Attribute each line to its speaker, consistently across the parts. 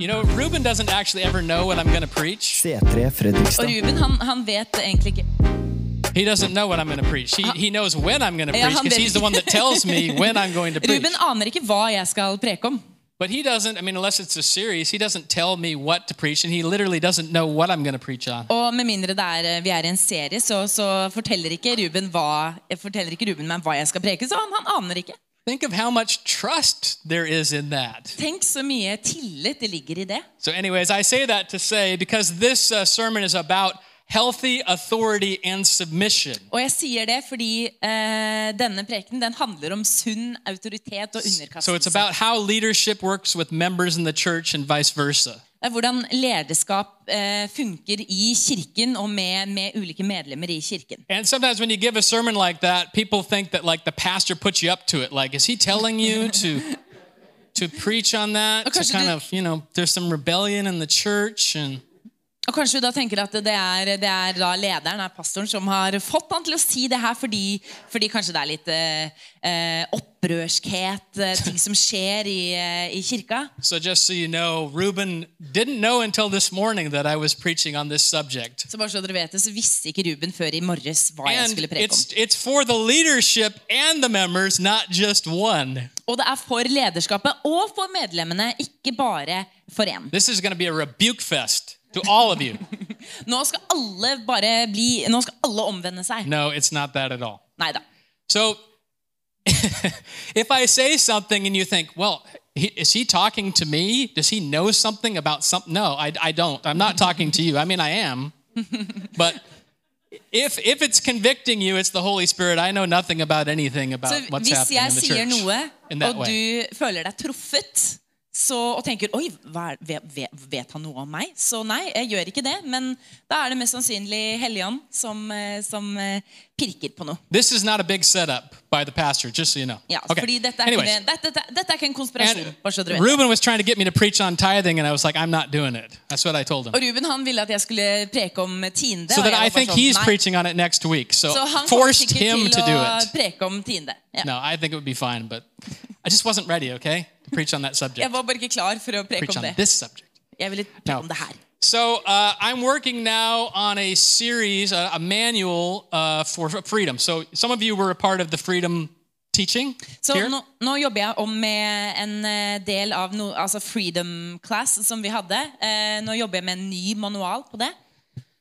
Speaker 1: You know, Ruben doesn't actually ever know what I'm going to preach.
Speaker 2: C3
Speaker 3: Og
Speaker 2: Fredrikstad.
Speaker 3: Ruben han, han vet det egentlig ikke.
Speaker 1: He doesn't know what I'm going to preach. He, he knows when I'm going to
Speaker 3: Ja,
Speaker 1: preach
Speaker 3: han
Speaker 1: because
Speaker 3: vet
Speaker 1: he's the one that tells me when I'm going to preach.
Speaker 3: Ruben aner ikke hva jeg skal preke om.
Speaker 1: But he doesn't, I mean, unless it's a series, he doesn't tell me what to preach, and he literally doesn't know what I'm going to preach on.
Speaker 3: Og med mindre det er, eh, vi er i en serie, så, så forteller ikke Ruben hva, eh, forteller ikke Ruben meg hva jeg skal preke. Så han, han aner ikke.
Speaker 1: Think of how much trust there is in that.
Speaker 3: Tenk så mye tillit det ligger i det.
Speaker 1: So, anyways, I say that to say because this uh, sermon is about healthy authority and submission.
Speaker 3: Og jeg sier det fordi eh, denne prekenen den handler om sunn autoritet og
Speaker 1: So, it's
Speaker 3: underkastelse.
Speaker 1: about how leadership works with members in the church and vice versa.
Speaker 3: Det er Eh, hvordan lederskap eh, funker i kirken og med, med ulike medlemmer i kirken.
Speaker 1: And sometimes when you give a sermon like that, people think that like the pastor puts you up to it. Like, is he telling you to to preach on that? To
Speaker 3: Because you
Speaker 1: kind
Speaker 3: did-
Speaker 1: of, you know, there's some rebellion in the church and
Speaker 3: Og kanskje du da tenker at det er, det er da lederen, er pastoren, som har fått han til å si det her fordi, fordi kanskje det er litt eh, eh, opprørskhet, eh, ting som skjer i, eh, i kirka.
Speaker 1: So just so you know, Ruben didn't know until this morning that I was preaching on this subject.
Speaker 3: Så bare så dere vet det, så visste ikke Ruben før i morges hva jeg
Speaker 1: And
Speaker 3: skulle preke om.
Speaker 1: it's it's for the leadership and the members, not just one.
Speaker 3: Og det er for lederskapet og for medlemmene, ikke bare for én.
Speaker 1: This is going to be a rebuke fest to all of you.
Speaker 3: Nå skal alle bare bli, nå skal alle omvende seg.
Speaker 1: No, it's not that at all.
Speaker 3: Nei da.
Speaker 1: So if I say something and you think, well, he, is he talking to me? Does he know something about something? No, I, I don't. I'm not talking to you. I mean, I am. But if, if it's convicting you, it's the Holy Spirit. I know nothing about anything about
Speaker 3: Så
Speaker 1: what's
Speaker 3: hvis
Speaker 1: happening in
Speaker 3: jeg
Speaker 1: the
Speaker 3: sier
Speaker 1: church.
Speaker 3: noe,
Speaker 1: in that
Speaker 3: og
Speaker 1: way.
Speaker 3: du føler deg truffet så, og tenker oi, hva er, vet, vet, vet han noe om meg? Så nei, jeg gjør ikke det. Men da er det mest sannsynlig Helligånd som, eh, som eh, pirker på noe.
Speaker 1: This is not a big setup by the pastor, just so you know.
Speaker 3: Ja,
Speaker 1: okay.
Speaker 3: fordi dette er,
Speaker 1: Anyways,
Speaker 3: ikke, dette, dette, dette er ikke en konspirasjon.
Speaker 1: and
Speaker 3: bare så dere vet.
Speaker 1: Reuben was trying to get me to preach on tithing, and I was like, I'm not doing it. That's what I told him.
Speaker 3: Og Ruben han ville at jeg skulle preke om tiende.
Speaker 1: So
Speaker 3: og
Speaker 1: that
Speaker 3: jeg
Speaker 1: I
Speaker 3: var bare
Speaker 1: think he's
Speaker 3: sånn, nei.
Speaker 1: preaching on it next week. So
Speaker 3: Så han kommer
Speaker 1: forced
Speaker 3: sikkert
Speaker 1: him to
Speaker 3: til
Speaker 1: do
Speaker 3: å
Speaker 1: it.
Speaker 3: preke om tiende. Ja.
Speaker 1: No, I think it would be fine, but I just wasn't ready, okay, to preach on that
Speaker 3: Jeg
Speaker 1: subject.
Speaker 3: var bare ikke klar for å preke
Speaker 1: Preach
Speaker 3: om
Speaker 1: on
Speaker 3: det.
Speaker 1: this subject.
Speaker 3: Jeg ville preke
Speaker 1: No.
Speaker 3: om det her.
Speaker 1: So uh, I'm working now on a series, a, a manual uh, for freedom. So some of you were a part of the freedom teaching
Speaker 3: Så
Speaker 1: here.
Speaker 3: nå, nå jobber jeg om med en eh, del av no, altså Freedom Class som vi hadde. Eh, nå jobber jeg med en ny manual på det.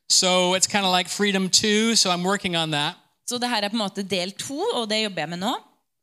Speaker 1: So it's kind of like freedom two. So I'm working on that,
Speaker 3: Så det her er på en måte del to, og det jobber jeg med nå.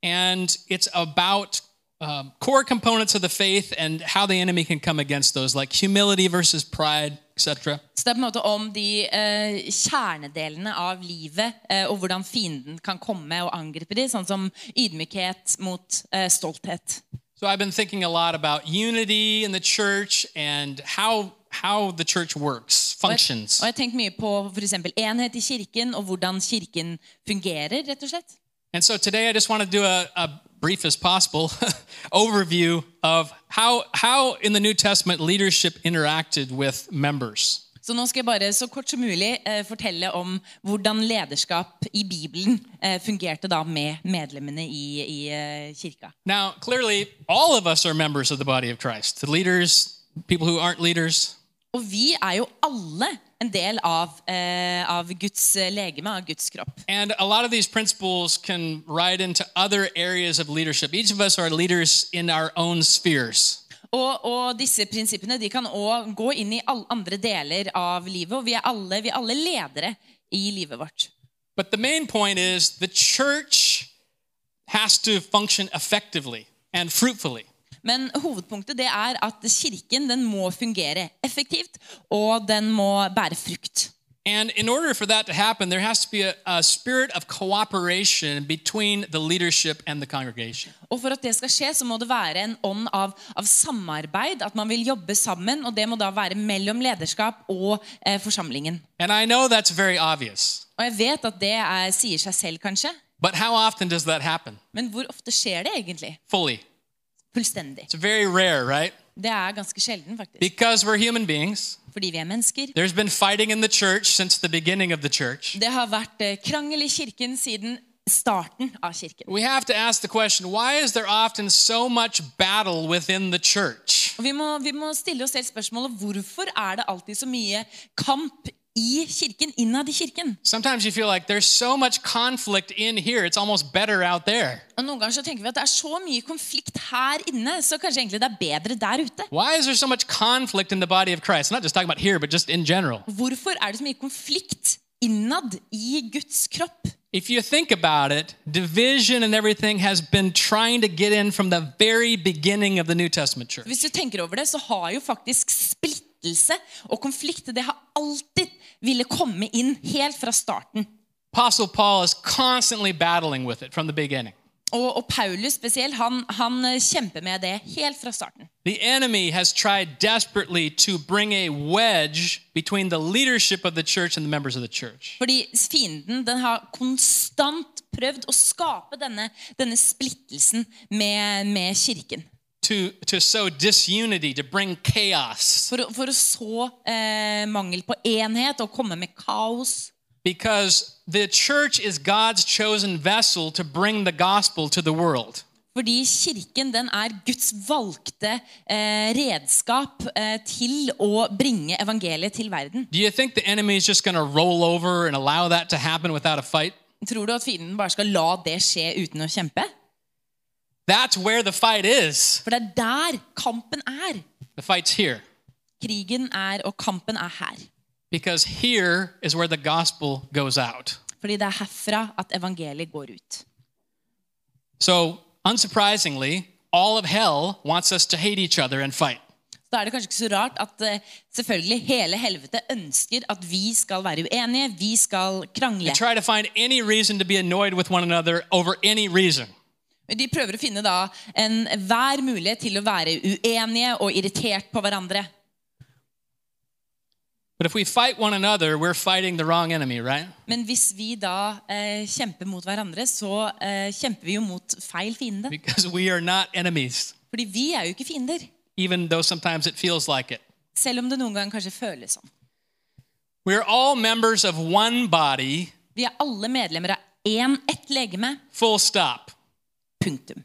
Speaker 1: and it's about um, core components of the faith and how the enemy can come against those, like humility versus pride, etc.
Speaker 3: Så det er på en måte om de eh, kjernedelene av livet eh, og hvordan fienden kan komme og angripe de, sånn som ydmykhet mot eh, stolthet.
Speaker 1: So I've been thinking a lot about unity in the church and how how the church works,
Speaker 3: Og jeg,
Speaker 1: functions.
Speaker 3: og jeg har tenkt mye på for eksempel enhet i kirken og hvordan kirken fungerer, rett og slett.
Speaker 1: And so today I just want to do a, a brief as possible overview of how how in the New Testament leadership interacted with members.
Speaker 3: Så nå skal jeg bare så kort som mulig eh, fortelle om hvordan lederskap i Bibelen eh, fungerte da med medlemmene i, i eh, kirka.
Speaker 1: Now, clearly, all of us are members of the body of Christ. The leaders, people who aren't leaders.
Speaker 3: Og vi er jo alle en del av, eh, av Guds eh, legeme, av Guds kropp.
Speaker 1: And a lot of these principles can ride into other areas of leadership. Each of us are leaders in our own spheres.
Speaker 3: Og, og disse prinsippene de kan òg gå inn i alle andre deler av livet, og vi er alle, vi er alle ledere i livet vårt.
Speaker 1: But the main point is the church has to function effectively and fruitfully.
Speaker 3: Men hovedpunktet det er at kirken den må fungere effektivt, og den må bære frukt.
Speaker 1: And in order for that to happen, there has to be a, a spirit of cooperation between the leadership and the congregation.
Speaker 3: Og for at det skal skje, så må det være en ånd av, av samarbeid. At man vil jobbe sammen. Og det må da være mellom lederskap og eh, forsamlingen.
Speaker 1: And I know that's very obvious,
Speaker 3: Og jeg vet at det er, sier seg selv, kanskje.
Speaker 1: but how often does that happen
Speaker 3: Men hvor ofte skjer det egentlig?
Speaker 1: fully?
Speaker 3: Fullstendig.
Speaker 1: It's very rare, right?
Speaker 3: Det er ganske sjelden, faktisk.
Speaker 1: Because we're human beings.
Speaker 3: Fordi vi er mennesker.
Speaker 1: There's been fighting in the church since the beginning of the church.
Speaker 3: Det har vært eh, krangel i kirken siden starten av kirken.
Speaker 1: We have to ask the question why is there often so much battle within the church?
Speaker 3: Og vi må, vi må stille oss selv spørsmålet hvorfor er det alltid så mye kamp i kirken, innad i kirken?
Speaker 1: Sometimes you feel like there's so much conflict in here, it's almost better out there.
Speaker 3: Og Noen ganger så tenker vi at det er så mye konflikt her inne, så kanskje egentlig det er bedre der ute.
Speaker 1: Why is there so much conflict in the body of Christ? I'm not just talking about here, but just in general.
Speaker 3: Hvorfor er det så mye konflikt innad i Guds kropp?
Speaker 1: If you think about it, division and everything has been trying to get in from the very beginning of the New Testament church.
Speaker 3: Hvis du tenker over det, så har jo faktisk splittelse og konflikt det har alltid ville komme inn helt fra starten.
Speaker 1: Apostle Paul is constantly battling with it from the beginning.
Speaker 3: Og, og Paulus spesielt, han, han eh, kjemper med det helt fra starten.
Speaker 1: The enemy has tried desperately to bring a wedge between the leadership of the church and the members of the church.
Speaker 3: Fordi fienden den har konstant prøvd å skape denne, denne splittelsen med, med kirken.
Speaker 1: To, to sow disunity, to bring chaos.
Speaker 3: For, å- for å så eh, mangel på enhet og komme med kaos.
Speaker 1: Because the church is God's chosen vessel to bring the gospel to the world.
Speaker 3: Fordi kirken den er Guds valgte eh, redskap eh, til å bringe evangeliet til verden.
Speaker 1: Do you think the enemy is just going to roll over and allow that to happen without a fight?
Speaker 3: Tror du at fienden bare skal la det skje uten å kjempe?
Speaker 1: That's where the fight is.
Speaker 3: For det er der kampen er.
Speaker 1: The fight's here.
Speaker 3: Krigen er, og kampen er her.
Speaker 1: Because here is where the gospel goes out.
Speaker 3: Fordi det er herfra at evangeliet går ut.
Speaker 1: So, unsurprisingly, all of hell wants us to hate each other and fight.
Speaker 3: Så Da er det kanskje ikke så rart at eh, selvfølgelig hele helvete ønsker at vi skal være uenige, vi skal krangle.
Speaker 1: Try to find any reason to be annoyed with one another over any reason.
Speaker 3: De prøver å finne da enhver mulighet til å være uenige og irritert på hverandre.
Speaker 1: But if we fight one another, we're fighting the wrong enemy, right?
Speaker 3: Men hvis vi da eh, kjemper mot hverandre, så eh, kjemper vi jo mot feil fiende.
Speaker 1: Because we are not enemies,
Speaker 3: Fordi vi er jo ikke fiender.
Speaker 1: even though sometimes it feels like it.
Speaker 3: Selv om det noen ganger kanskje føles sånn.
Speaker 1: We're all members of one body,
Speaker 3: Vi er alle medlemmer av én ett legeme.
Speaker 1: full stop.
Speaker 3: Punktum.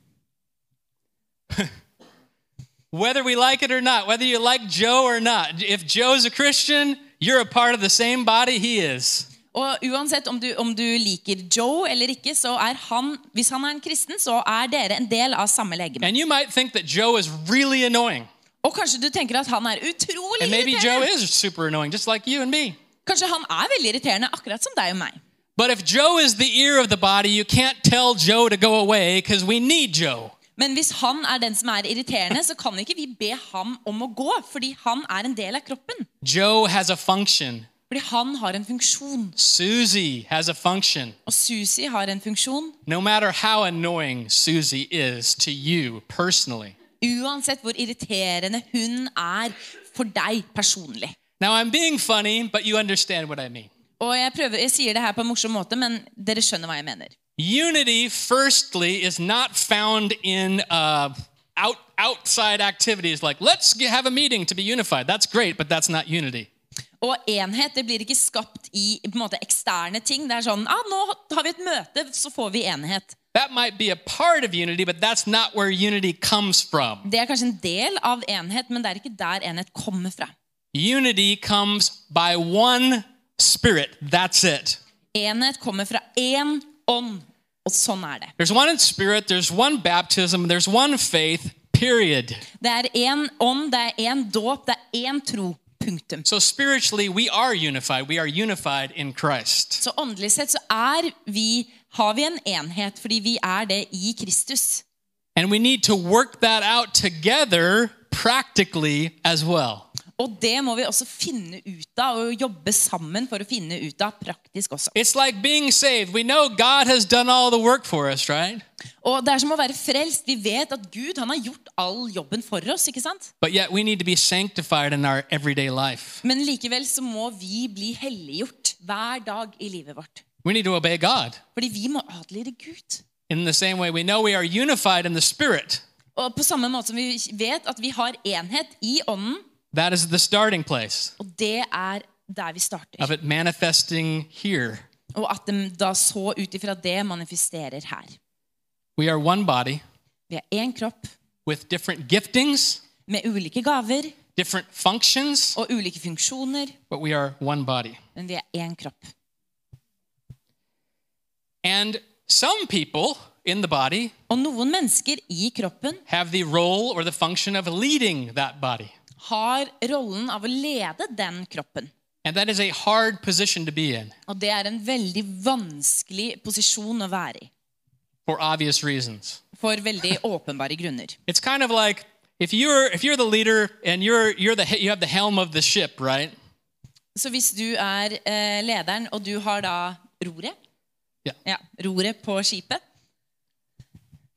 Speaker 1: Whether we like it or not, whether you like Joe or not, if Joe's a Christian, you're a part of the same body he is.
Speaker 3: Og uansett om du, om du liker Joe eller ikke, så er han, hvis han er en kristen, så er dere en del av samme legeme.
Speaker 1: And you might think that Joe is really annoying.
Speaker 3: Og kanskje du tenker at han er utrolig
Speaker 1: And maybe Joe
Speaker 3: irriterende.
Speaker 1: is super annoying, just like you and me.
Speaker 3: Kanskje han er veldig irriterende, akkurat som deg og meg.
Speaker 1: But if Joe is the ear of the body, you can't tell Joe to go away because we need Joe.
Speaker 3: Men hvis han er den som er irriterende, så kan ikke vi be ham om å gå, fordi han er en del av kroppen.
Speaker 1: Joe has a function.
Speaker 3: Fordi han har en funksjon,
Speaker 1: Susie has a function.
Speaker 3: og Susi har en funksjon.
Speaker 1: No matter how annoying Susie is to you personally.
Speaker 3: Uansett hvor irriterende hun er for deg personlig.
Speaker 1: Now, I'm being funny, but you understand what I mean.
Speaker 3: Og jeg, prøver, jeg sier det her på en morsom måte, men dere skjønner hva jeg mener.
Speaker 1: Unity, firstly, is not found in uh, out, outside activities like let's g- have a meeting to be unified. That's great, but that's not unity.
Speaker 3: Og enhet det blir ikke skapt i på en måte, eksterne ting. Det er sånn ah, 'Nå har vi et møte, så får vi enhet'.
Speaker 1: That might be a part of unity, but that's not where unity comes from.
Speaker 3: Det er kanskje en del av enhet, men det er ikke der enhet kommer fra.
Speaker 1: Unity comes by one spirit. That's it.
Speaker 3: Enhet kommer fra én ånd, og sånn er det.
Speaker 1: There's one spirit, there's one baptism, there's one faith, period.
Speaker 3: Det er én ånd, det er én dåp, det er én tro. Punktum.
Speaker 1: So spiritually, we are unified. We are unified in Christ.
Speaker 3: Så åndelig sett så er vi, har vi en enhet, fordi vi er det i Kristus.
Speaker 1: And we need to work that out together practically as well.
Speaker 3: Og det må vi også finne ut av, og jobbe sammen for å finne ut av praktisk også.
Speaker 1: It's like being saved. We know God has done all the work for us, right?
Speaker 3: Og det er som å være frelst. Vi vet at Gud han har gjort all jobben for oss. ikke sant?
Speaker 1: But yet we need to be sanctified in our everyday life.
Speaker 3: Men likevel så må vi bli helliggjort hver dag i livet vårt.
Speaker 1: We need to obey God.
Speaker 3: Fordi vi må adlyde Gud.
Speaker 1: In the same way, we know we are unified in the Spirit.
Speaker 3: Og på samme måte som vi vet at vi har enhet i ånden,
Speaker 1: That is the starting place
Speaker 3: og det er der vi starter.
Speaker 1: of it manifesting here.
Speaker 3: og at de da så ut ifra det manifesterer her.
Speaker 1: We are one body
Speaker 3: Vi er én kropp
Speaker 1: with different giftings,
Speaker 3: med ulike gaver
Speaker 1: different functions,
Speaker 3: og ulike funksjoner,
Speaker 1: but we are one body.
Speaker 3: men vi er én kropp.
Speaker 1: And some people in the body
Speaker 3: Og noen mennesker i kroppen
Speaker 1: have the role or the function of leading that body.
Speaker 3: har rollen av å lede den kroppen.
Speaker 1: And that is a hard position to be in
Speaker 3: Og det er en veldig vanskelig posisjon å være i.
Speaker 1: for obvious reasons.
Speaker 3: For veldig åpenbare grunner.
Speaker 1: It's kind of like if you're if you're the leader and you're you're the he- you have the helm of the ship, right?
Speaker 3: Så hvis du er eh, lederen, og du har da roret
Speaker 1: Ja.
Speaker 3: roret på skipet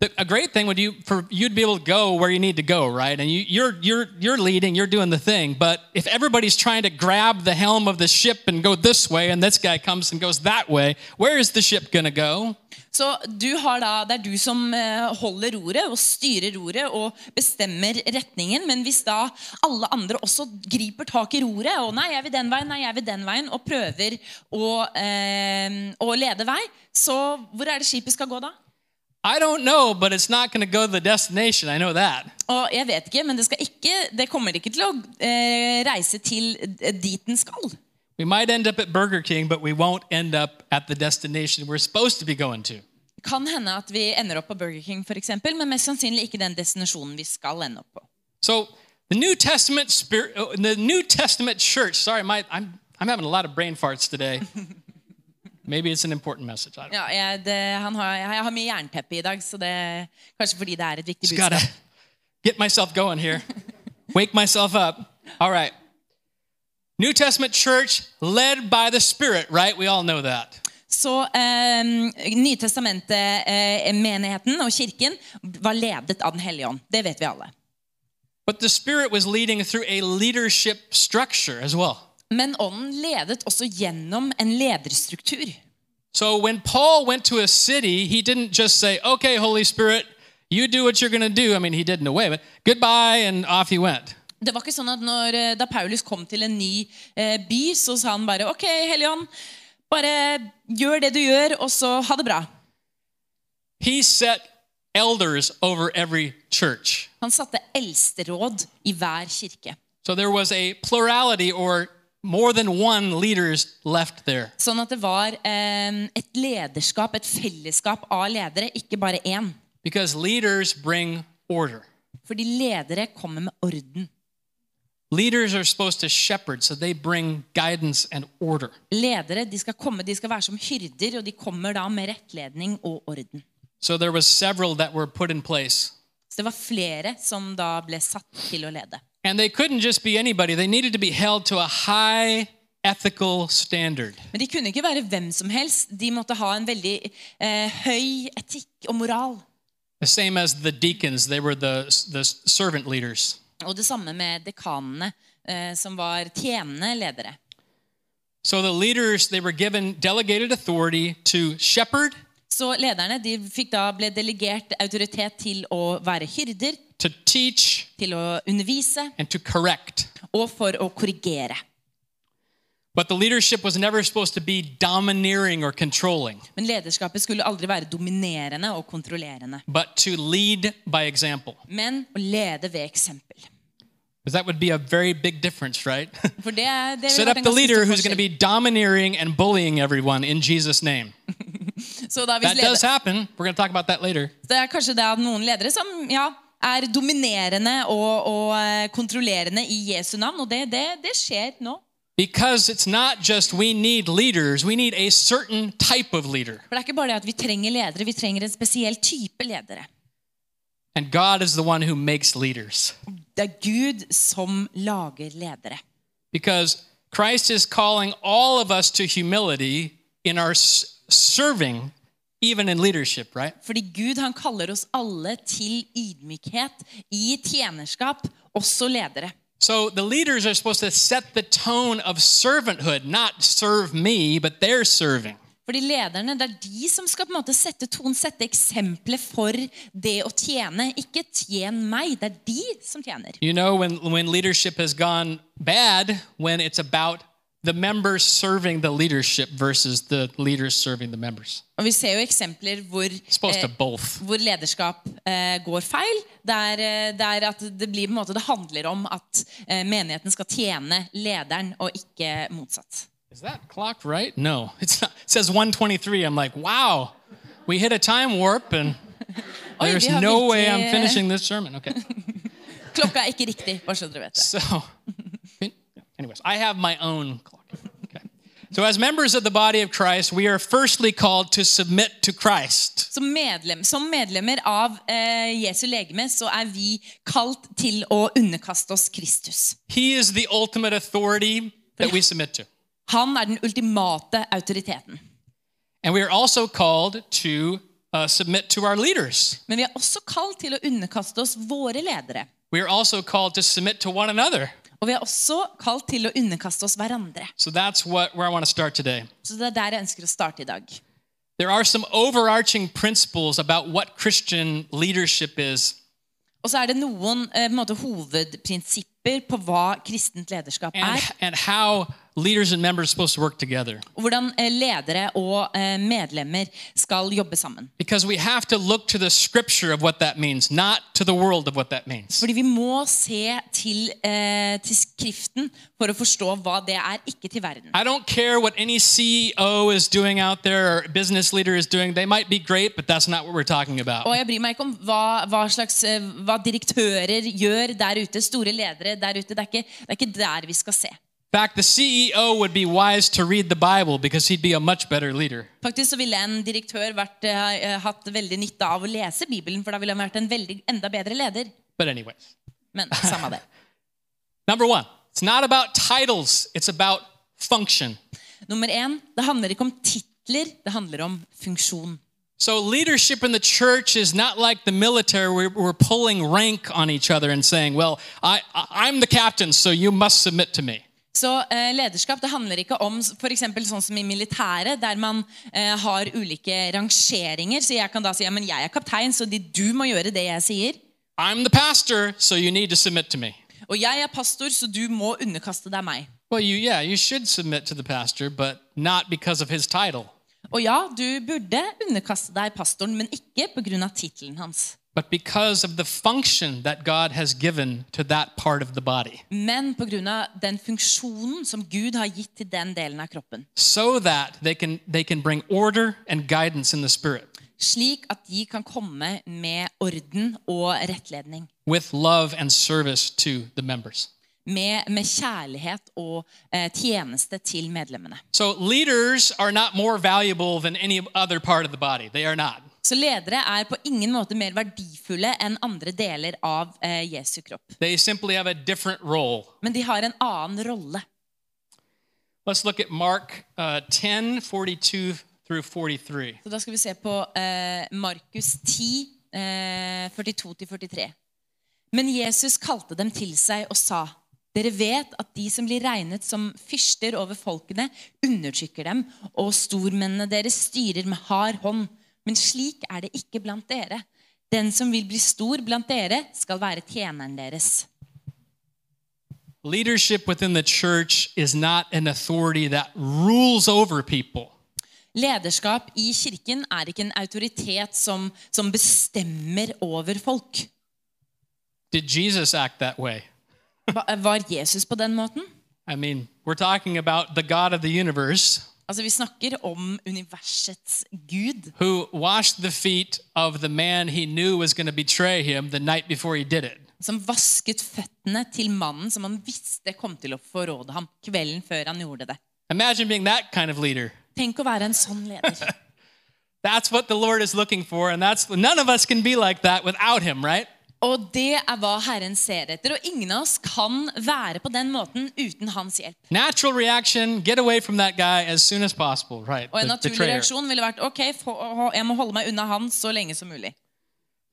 Speaker 1: The, a great thing would you for you'd be able to go where you need to go, right? And you, you're you're you're leading, you're doing the thing. But if everybody's trying to grab the helm of the ship and go this way, and this guy comes and goes that way, where is the ship gonna go?
Speaker 3: Så du har da, det er du som eh, holder roret og styrer roret og bestemmer retningen. Men hvis da alle andre også griper tak i roret og nei, jeg vil den veien, nei, jeg vil den veien, og prøver å, eh, å lede vei, så hvor er det skipet skal gå da?
Speaker 1: I don't know, but it's not gonna go to the destination. I know that.
Speaker 3: Og jeg vet ikke, men det, skal ikke, det kommer ikke til å eh, reise til eh, dit den skal.
Speaker 1: We might end up at Burger King, but we won't end up at the destination we're supposed to be going to.
Speaker 3: Kan hende at vi ender opp på Burger King, for eksempel, men mest sannsynlig ikke den destinasjonen vi skal ende opp på.
Speaker 1: So the New Testament spirit, uh, the New Testament church. Sorry, my, I'm I'm having a lot of brain farts today. Maybe it's an important message. I don't know.
Speaker 3: Ja, jeg, det, han har, jeg har mye jernteppe i dag, så det kanskje fordi det er et viktig
Speaker 1: Just
Speaker 3: budskap.
Speaker 1: gotta get myself going here. Wake myself up. All right. New Testament church led by the Spirit, right? We all know that.
Speaker 3: Så eh, Nytestamentet-menigheten og kirken var ledet av Den hellige ånd. Det vet vi alle.
Speaker 1: But the Spirit was leading through a leadership structure as well.
Speaker 3: Men ånden ledet også gjennom en lederstruktur.
Speaker 1: So when Paul went to a city, he didn't just say, okay, Holy Spirit, you do what you're going to do. I mean, he did in a way, but goodbye, and off he went.
Speaker 3: Det var ikke sånn at når, eh, Da Paulus kom til en ny eh, by, så sa han bare OK, Hellige ånd, bare gjør det du gjør, og så ha det bra.
Speaker 1: He set elders over every church.
Speaker 3: Han satte eldsteråd i hver kirke.
Speaker 1: So there was a plurality or more than one leaders left there.
Speaker 3: Sånn at det var eh, et lederskap, et fellesskap av ledere, ikke bare én.
Speaker 1: Because leaders bring order.
Speaker 3: Fordi ledere kommer med orden.
Speaker 1: Leaders are supposed to shepherd, so they bring guidance and order.
Speaker 3: Ledere de skal komme, de skal være som hyrder, og de kommer da med rettledning og orden.
Speaker 1: So there was several that were put in place.
Speaker 3: Så det var flere som da ble satt til å lede.
Speaker 1: And they couldn't just be anybody. They needed to be held to a high ethical standard.
Speaker 3: Men de kunne ikke være hvem som helst. De måtte ha en veldig eh, høy etikk og moral.
Speaker 1: The same as the deacons, they were the, the servant leaders.
Speaker 3: Og det samme med dekanene, eh, som var tjenende ledere.
Speaker 1: So the leaders, they were given delegated authority to shepherd,
Speaker 3: Så lederne de fikk da ble delegert autoritet til å være hyrder,
Speaker 1: to teach,
Speaker 3: til å undervise
Speaker 1: and to correct.
Speaker 3: og for å korrigere.
Speaker 1: But the leadership was never supposed to be domineering or controlling,
Speaker 3: Men lederskapet skulle aldri være dominerende og kontrollerende,
Speaker 1: but to lead by example.
Speaker 3: men å lede ved eksempel.
Speaker 1: Because that would be a very big difference, right?
Speaker 3: For det, det ville
Speaker 1: Set
Speaker 3: vært
Speaker 1: up
Speaker 3: en
Speaker 1: the
Speaker 3: ganske stor
Speaker 1: leader who's going to be
Speaker 3: forskjell.
Speaker 1: domineering and bullying everyone in Jesus' name.
Speaker 3: Så da hvis
Speaker 1: That does
Speaker 3: leder,
Speaker 1: happen. We're going to talk about that later.
Speaker 3: det er kanskje det at noen ledere som ja, er dominerende og, og eh, kontrollerende i Jesu navn, og det, det, det skjer nå.
Speaker 1: Because it's not just we need leaders, we need a certain type of leader.
Speaker 3: For det er ikke bare det at vi trenger ledere, vi trenger en spesiell type ledere.
Speaker 1: And God is the one who makes leaders.
Speaker 3: Det er Gud som lager ledere.
Speaker 1: Because Christ is calling all of us to humility in our s- serving, even in leadership, right?
Speaker 3: Fordi Gud han kaller oss alle til ydmykhet i tjenerskap, også ledere.
Speaker 1: So the leaders are supposed to set the tone of servanthood, not serve me, but they're serving.
Speaker 3: Fordi lederne, det er de som skal på en måte sette ton, sette eksempler for det å tjene. Ikke tjen meg, det er de som tjener.
Speaker 1: You know when when leadership has gone bad when it's about the members serving the leadership versus the leaders serving the members.
Speaker 3: Og vi ser jo eksempler hvor,
Speaker 1: It's supposed to
Speaker 3: eh,
Speaker 1: both.
Speaker 3: hvor lederskap eh, går feil. Der, eh, der at det blir på en måte, det handler om at eh, menigheten skal tjene lederen, og ikke motsatt.
Speaker 1: Is that clock right? No, it's not. It says 123. I'm like, wow, we hit a time warp, and
Speaker 3: Oi,
Speaker 1: there's
Speaker 3: vi har
Speaker 1: no way
Speaker 3: virkelig-
Speaker 1: I'm finishing this sermon. Okay,
Speaker 3: Klokka er ikke riktig, bare så dere vet det.
Speaker 1: so, anyways, I have my own clock. Okay. So, as members of the body of Christ, we are firstly called to submit to Christ.
Speaker 3: Som, medlem, som medlemmer av eh, Jesu legeme så er vi kalt til å underkaste oss Kristus.
Speaker 1: He is the ultimate authority that we submit to.
Speaker 3: Han er den ultimate autoriteten.
Speaker 1: And we are also called to uh, submit to our leaders.
Speaker 3: Men vi er også kalt til å underkaste oss våre ledere.
Speaker 1: We are also called to submit to one another.
Speaker 3: Og vi er også kalt til å underkaste oss hverandre.
Speaker 1: So that's what where I want to start today.
Speaker 3: Så det er der jeg ønsker å starte i dag.
Speaker 1: There are some overarching principles about what Christian leadership is,
Speaker 3: Og så er det noen eh, på en måte, hovedprinsipper på hva kristent lederskap
Speaker 1: and,
Speaker 3: er,
Speaker 1: and how leaders and members are supposed to work together.
Speaker 3: og hvordan eh, ledere og eh, medlemmer skal jobbe sammen.
Speaker 1: Because we have to look to the scripture of what that means, not to the world of what that means.
Speaker 3: Fordi vi må se til, eh, til Skriften for å forstå hva det er, ikke til verden.
Speaker 1: I don't care what any CEO is doing out there or business leader is doing. They might be great, but that's not what we're talking about.
Speaker 3: Og jeg bryr meg ikke om hva, hva, slags, eh, hva direktører gjør der ute, store ledere der ute. Det er, ikke, det er ikke der vi skal se.
Speaker 1: In fact, the CEO would be wise to read the Bible because he'd be a much better leader.
Speaker 3: Faktisk så ville en direktør vært, eh, hatt veldig nytte av å lese Bibelen, for da ville han vært en veldig, enda bedre leder.
Speaker 1: But, anyways,
Speaker 3: Men samme det.
Speaker 1: number one, it's not about titles, it's about function.
Speaker 3: Nummer én, det handler ikke om titler, det handler om funksjon.
Speaker 1: So, leadership in the church is not like the military where we're pulling rank on each other and saying, Well, I, I- I'm the captain, so you must submit to me.
Speaker 3: Så eh, lederskap det handler ikke om f.eks. sånn som i militæret, der man eh, har ulike rangeringer. Så jeg kan da si ja, men jeg er kaptein, så de, du må gjøre det jeg sier.
Speaker 1: I'm the pastor, so you need to submit to me.
Speaker 3: Og jeg er pastor, så du må underkaste deg meg.
Speaker 1: Well, you, yeah, you should submit to the pastor, but not because of his title,
Speaker 3: Og ja, du burde underkaste deg pastoren, men ikke pga. tittelen hans.
Speaker 1: but because of the function that God has given to that part of the body.
Speaker 3: Men pga. den funksjonen som Gud har gitt til den delen av kroppen.
Speaker 1: so that they can they can bring order and guidance in the spirit
Speaker 3: Slik at de kan komme med orden og rettledning.
Speaker 1: with love and service to the members
Speaker 3: Med, med kjærlighet og eh, tjeneste til medlemmene.
Speaker 1: so leaders are not more valuable than any other part of the body they are not
Speaker 3: Så ledere er på ingen måte mer verdifulle enn andre deler av eh, Jesu kropp.
Speaker 1: they simply have a different role
Speaker 3: Men de har en annen rolle.
Speaker 1: let's look at mark uh, 10 42 through 43
Speaker 3: Så da skal vi se på eh, Markus 10, eh, 42-43. Men Jesus kalte dem til seg og sa, dere vet at de som blir regnet som fyrster over folkene, undertrykker dem, og stormennene deres styrer med hard hånd. Men slik er det ikke blant dere. Den som vil bli stor blant dere, skal være tjeneren deres.
Speaker 1: leadership within the church is not an authority that rules over people
Speaker 3: Lederskap i kirken er ikke en autoritet som, som bestemmer over folk.
Speaker 1: did jesus act that way
Speaker 3: Ba- Var Jesus på den måten?
Speaker 1: i mean we're talking about the god of the universe
Speaker 3: Altså, vi snakker om universets gud,
Speaker 1: who washed the feet of the man he knew was going to betray him the night before he did it.
Speaker 3: som vasket føttene til mannen som han visste kom til å forråde ham kvelden før han gjorde det.
Speaker 1: Imagine being that kind of leader.
Speaker 3: Tenk å være en sånn leder.
Speaker 1: That's what the Lord is looking for, and that's none of us can be like that without him, right?
Speaker 3: Og det er hva Herren ser etter, og ingen av oss kan være på den måten uten hans hjelp.
Speaker 1: Natural reaction, get away from that guy as soon as possible, right?
Speaker 3: Og en
Speaker 1: The
Speaker 3: naturlig
Speaker 1: betrayer.
Speaker 3: reaksjon ville vært ok, få- jeg må holde meg unna han så lenge som mulig.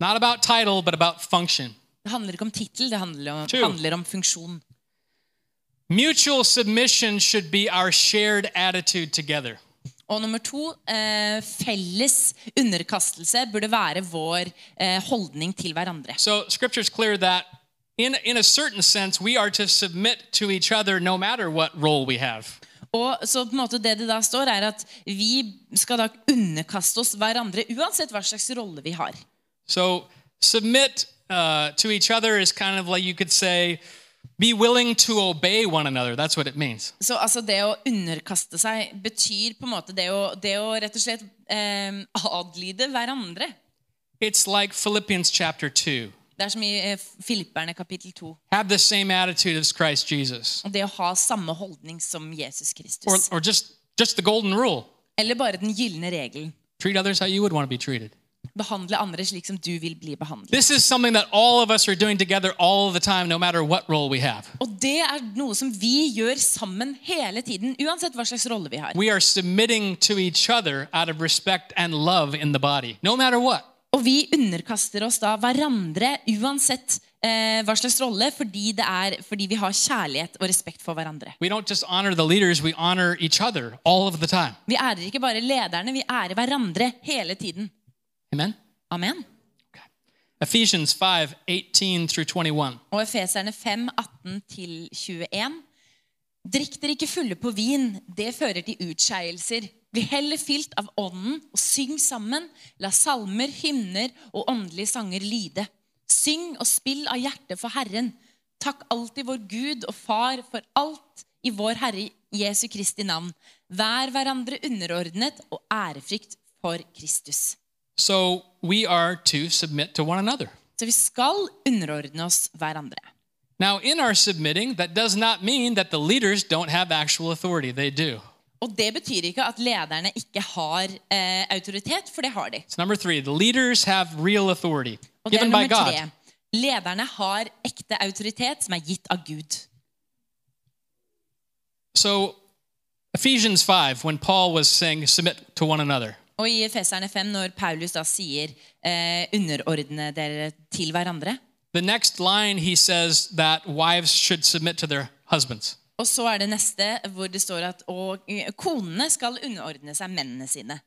Speaker 1: Not about title, but about function.
Speaker 3: Det handler ikke om tittel, det handler om,
Speaker 1: Two.
Speaker 3: handler om funksjon.
Speaker 1: Mutual submission should be our shared attitude together.
Speaker 3: Og nummer to, eh, felles underkastelse burde være vår eh, holdning til hverandre.
Speaker 1: So scripture's clear that in, in a certain sense, we are to submit to each other no matter what role we have.
Speaker 3: Og så på en måte det det da står, er at vi skal da underkaste oss hverandre uansett hva slags rolle vi har.
Speaker 1: So submit uh, to each other is kind of like you could say, be willing to obey one another. That's what it means.
Speaker 3: Så altså det å underkaste seg betyr på en måte det å, det å rett og slett eh, adlyde hverandre.
Speaker 1: It's like Philippians chapter 2.
Speaker 3: Det er som i eh, Filipperne kapittel 2.
Speaker 1: Have the same attitude as Christ Jesus,
Speaker 3: Og det å ha samme holdning som Jesus
Speaker 1: or,
Speaker 3: Kristus.
Speaker 1: or just, just the golden rule
Speaker 3: Eller bare den gylne regelen.
Speaker 1: treat others how you would want to be treated.
Speaker 3: Behandle andre slik som du vil bli behandlet.
Speaker 1: This is something that all of us are doing together all the time, no matter what role we have.
Speaker 3: Og det er noe som vi gjør sammen hele tiden, uansett hva slags rolle vi har.
Speaker 1: We are submitting to each other out of respect and love in the body, no matter what.
Speaker 3: Og vi underkaster oss da hverandre uansett eh, hva slags rolle, fordi, det er, fordi vi har kjærlighet og respekt for hverandre.
Speaker 1: We don't just honor the leaders, we honor each other all of the time.
Speaker 3: Vi ærer ikke bare lederne, vi ærer hverandre hele tiden.
Speaker 1: Amen?
Speaker 3: Amen.
Speaker 1: Okay. Ephesians 5 18 through 21.
Speaker 3: Og Efeserne 5, 18-21. Drikk dere ikke fulle på vin, det fører til utskeielser. Bli heller fylt av ånden og syng sammen. La salmer, hymner og åndelige sanger lyde. Syng og spill av hjertet for Herren. Takk alltid vår Gud og Far for alt i vår Herre Jesu Kristi navn. Vær hverandre underordnet og ærefrykt for Kristus.
Speaker 1: So we are to submit to one another.
Speaker 3: Så vi skal underordne oss hverandre.
Speaker 1: Now, in our submitting, that does not mean that the leaders don't have actual authority. They do.
Speaker 3: Og det betyr ikke at lederne ikke har eh, autoritet, for det har de.
Speaker 1: It's number three the leaders have real authority
Speaker 3: Og det er
Speaker 1: given by
Speaker 3: nummer
Speaker 1: God.
Speaker 3: tre. Lederne har ekte autoritet som er gitt av Gud.
Speaker 1: So, Ephesians 5, when Paul was saying, submit to one another,
Speaker 3: Og i Efeserne 5, når Paulus da sier eh, 'underordne dere til hverandre',
Speaker 1: the next line he says that wives should submit to their husbands.
Speaker 3: og så er det neste hvor det står at og, eh, 'konene skal underordne seg mennene sine'.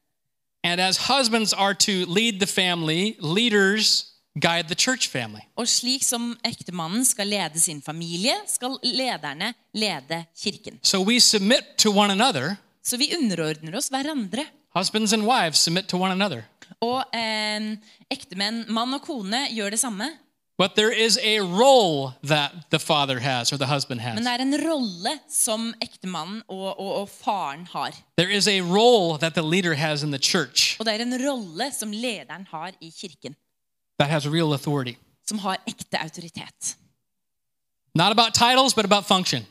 Speaker 1: And as husbands are to lead the family, leaders guide the church family.
Speaker 3: Og slik som ektemannen skal lede sin familie, skal lederne lede kirken.
Speaker 1: So we submit to one another.
Speaker 3: Så vi underordner oss hverandre.
Speaker 1: Husbands and wives submit to one another.
Speaker 3: Og eh, ektemenn, mann og kone, gjør det samme.
Speaker 1: But there is a role that the father has or the husband
Speaker 3: Men
Speaker 1: has.
Speaker 3: det er en rolle som ektemannen og, og, og faren har.
Speaker 1: There is a role that the leader has in the church
Speaker 3: Og det er en rolle som lederen har i kirken,
Speaker 1: that has real authority.
Speaker 3: som har ekte autoritet.
Speaker 1: Not about titles, but about function.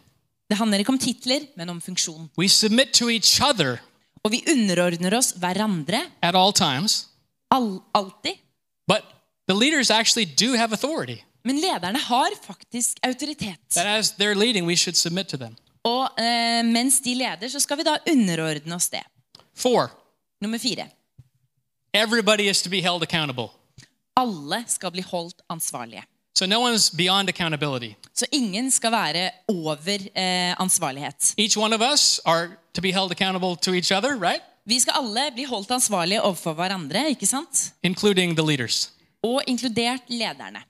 Speaker 3: Det handler ikke om titler, men om funksjon.
Speaker 1: We submit to each other
Speaker 3: Og vi underordner oss hverandre
Speaker 1: at all times,
Speaker 3: all, alltid.
Speaker 1: but the leaders actually do have authority.
Speaker 3: Men lederne har faktisk autoritet.
Speaker 1: That as they're leading, we should submit to them.
Speaker 3: Og eh, mens de leder, så skal vi da underordne oss det.
Speaker 1: Four,
Speaker 3: Nummer fire.
Speaker 1: everybody is to be held accountable.
Speaker 3: Alle skal bli holdt ansvarlige.
Speaker 1: So no one's beyond accountability.
Speaker 3: Så ingen skal være over eh, ansvarlighet.
Speaker 1: Each one of us are to be held accountable to each other, right?
Speaker 3: Vi skal alle bli holdt ansvarlige overfor hverandre, ikke sant?
Speaker 1: Including the leaders.
Speaker 3: Og inkludert lederne.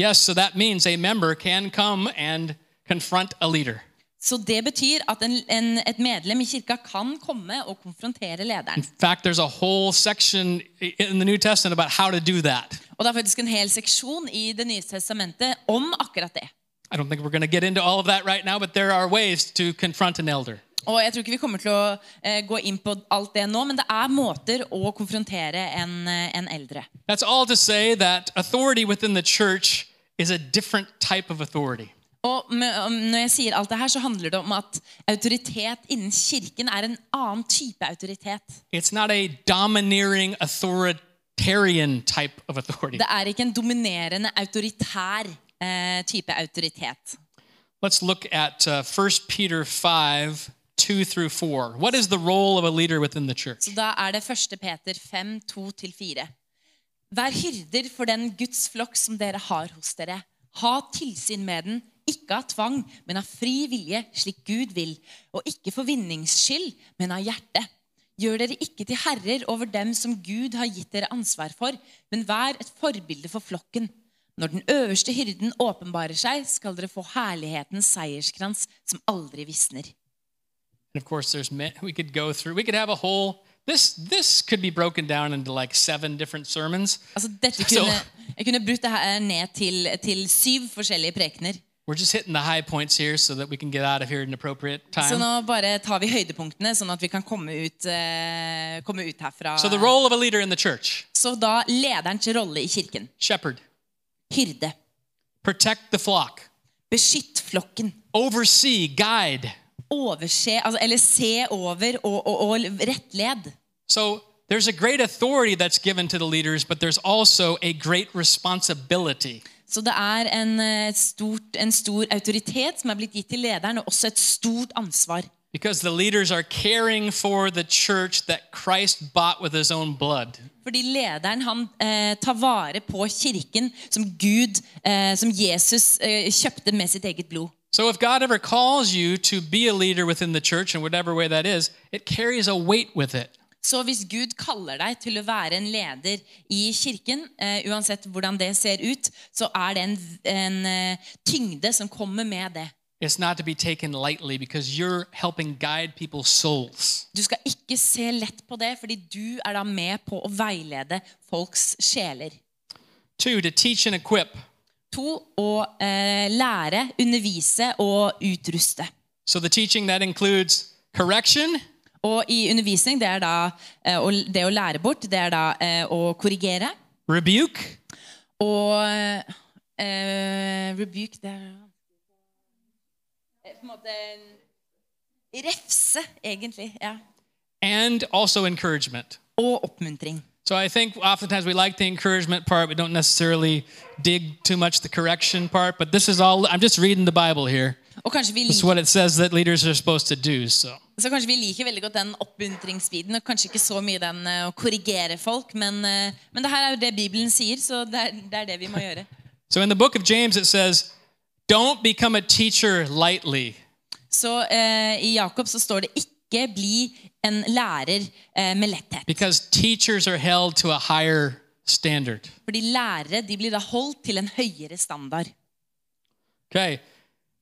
Speaker 1: Yes, so that means a member can come and confront a leader.
Speaker 3: Så det betyr at en, en, et medlem i kirka kan komme og konfrontere lederen.
Speaker 1: In fact, there's a whole section i- in the New Testament about how to do that.
Speaker 3: Og det er faktisk en hel seksjon i Det nye testamentet om akkurat det.
Speaker 1: I don't think we're going to get into all of that right now, but there are ways to confront an elder.
Speaker 3: Og jeg tror ikke vi kommer til å eh, gå inn på alt det nå, men det er måter å konfrontere en, eh, en eldre.
Speaker 1: That's all to say that authority within the church is a different type of authority.
Speaker 3: Og med, om, når jeg sier alt det her, så handler det om at autoritet innen kirken er en annen type autoritet.
Speaker 1: It's not a domineering, authoritarian type of authority.
Speaker 3: Det er ikke en dominerende, autoritær eh, type autoritet.
Speaker 1: Let's look at uh, 1 Peter 5 2 through 4. What is the role of a leader within the church?
Speaker 3: Så da er det 1. Peter 5, 2-4. Vær hyrder for den Guds flokk som dere har hos dere. Ha tilsyn med den, ikke av tvang, men av fri vilje, slik Gud vil. Og ikke for vinnings skyld, men av hjerte. Gjør dere ikke til herrer over dem som Gud har gitt dere ansvar for, men vær et forbilde for flokken. Når den øverste hyrden åpenbarer seg, skal dere få herlighetens seierskrans som aldri visner.
Speaker 1: And of course, there's ma- we could go through. We could have a whole. This this could be broken down into like seven different sermons.
Speaker 3: Altså, dette
Speaker 1: Så-
Speaker 3: kunne, jeg kunne brutt det her eh, ned til, til syv forskjellige prekener.
Speaker 1: We're just hitting the high points here so that we can get out of here at an appropriate
Speaker 3: Så nå
Speaker 1: time.
Speaker 3: bare tar vi høydepunktene, sånn at vi kan komme ut, eh, komme ut herfra.
Speaker 1: So the role of a leader in the church:
Speaker 3: Så da lederens rolle i kirken.
Speaker 1: shepherd,
Speaker 3: Hyrde.
Speaker 1: protect the flock,
Speaker 3: Beskytt flokken.
Speaker 1: oversee, guide.
Speaker 3: Overse, altså, eller se over og, og, og rettled.
Speaker 1: So there's a great authority that's given to the leaders, but there's also a great responsibility.
Speaker 3: Så det er en, eh, stort, en stor autoritet som er blitt gitt til lederen, og også et stort ansvar.
Speaker 1: Because the leaders are caring for the church that Christ bought with his own blood.
Speaker 3: Fordi lederen han eh, tar vare på kirken som Gud, eh, som Jesus eh, kjøpte med sitt eget blod.
Speaker 1: So if God ever calls you to be a leader within the church in whatever way that is, it carries a weight with it.
Speaker 3: Så hvis Gud kaller deg til å være en leder i kirken, eh, uansett hvordan det ser ut, så er det en, en eh, tyngde som kommer med det.
Speaker 1: It's not to be taken lightly because you're helping guide people's souls.
Speaker 3: Du skal ikke se lett på det, fordi du er da med på å veilede folks sjeler.
Speaker 1: Two, to teach and equip.
Speaker 3: To, å eh, lære, undervise og utruste.
Speaker 1: So the teaching that includes correction,
Speaker 3: Og i undervisning, det er da eh, å- det å lære bort, det er da eh, å korrigere.
Speaker 1: rebuke,
Speaker 3: Og eh, rebuke, det er eh, På en måte Refse, egentlig. ja.
Speaker 1: and also encouragement.
Speaker 3: Og oppmuntring.
Speaker 1: So I think oftentimes we like the encouragement part. We don't necessarily dig too much the correction part, but this is all, I'm just reading the Bible here.
Speaker 3: Og kanskje vi,
Speaker 1: It's
Speaker 3: liker,
Speaker 1: what it says that leaders are supposed to do. So
Speaker 3: så kanskje vi liker veldig godt den oppmuntringsbiten, og kanskje ikke så mye den eh, å korrigere folk, men, eh, men det her er jo det Bibelen sier, så det er det, er det vi må gjøre.
Speaker 1: So in the book of James, it says, Don't become a teacher lightly.
Speaker 3: Så eh, i Jakob så står det ikke bli en lærer eh, med letthet.
Speaker 1: Because teachers are held to a higher standard.
Speaker 3: Fordi lærere de blir da holdt til en høyere standard.
Speaker 1: Okay.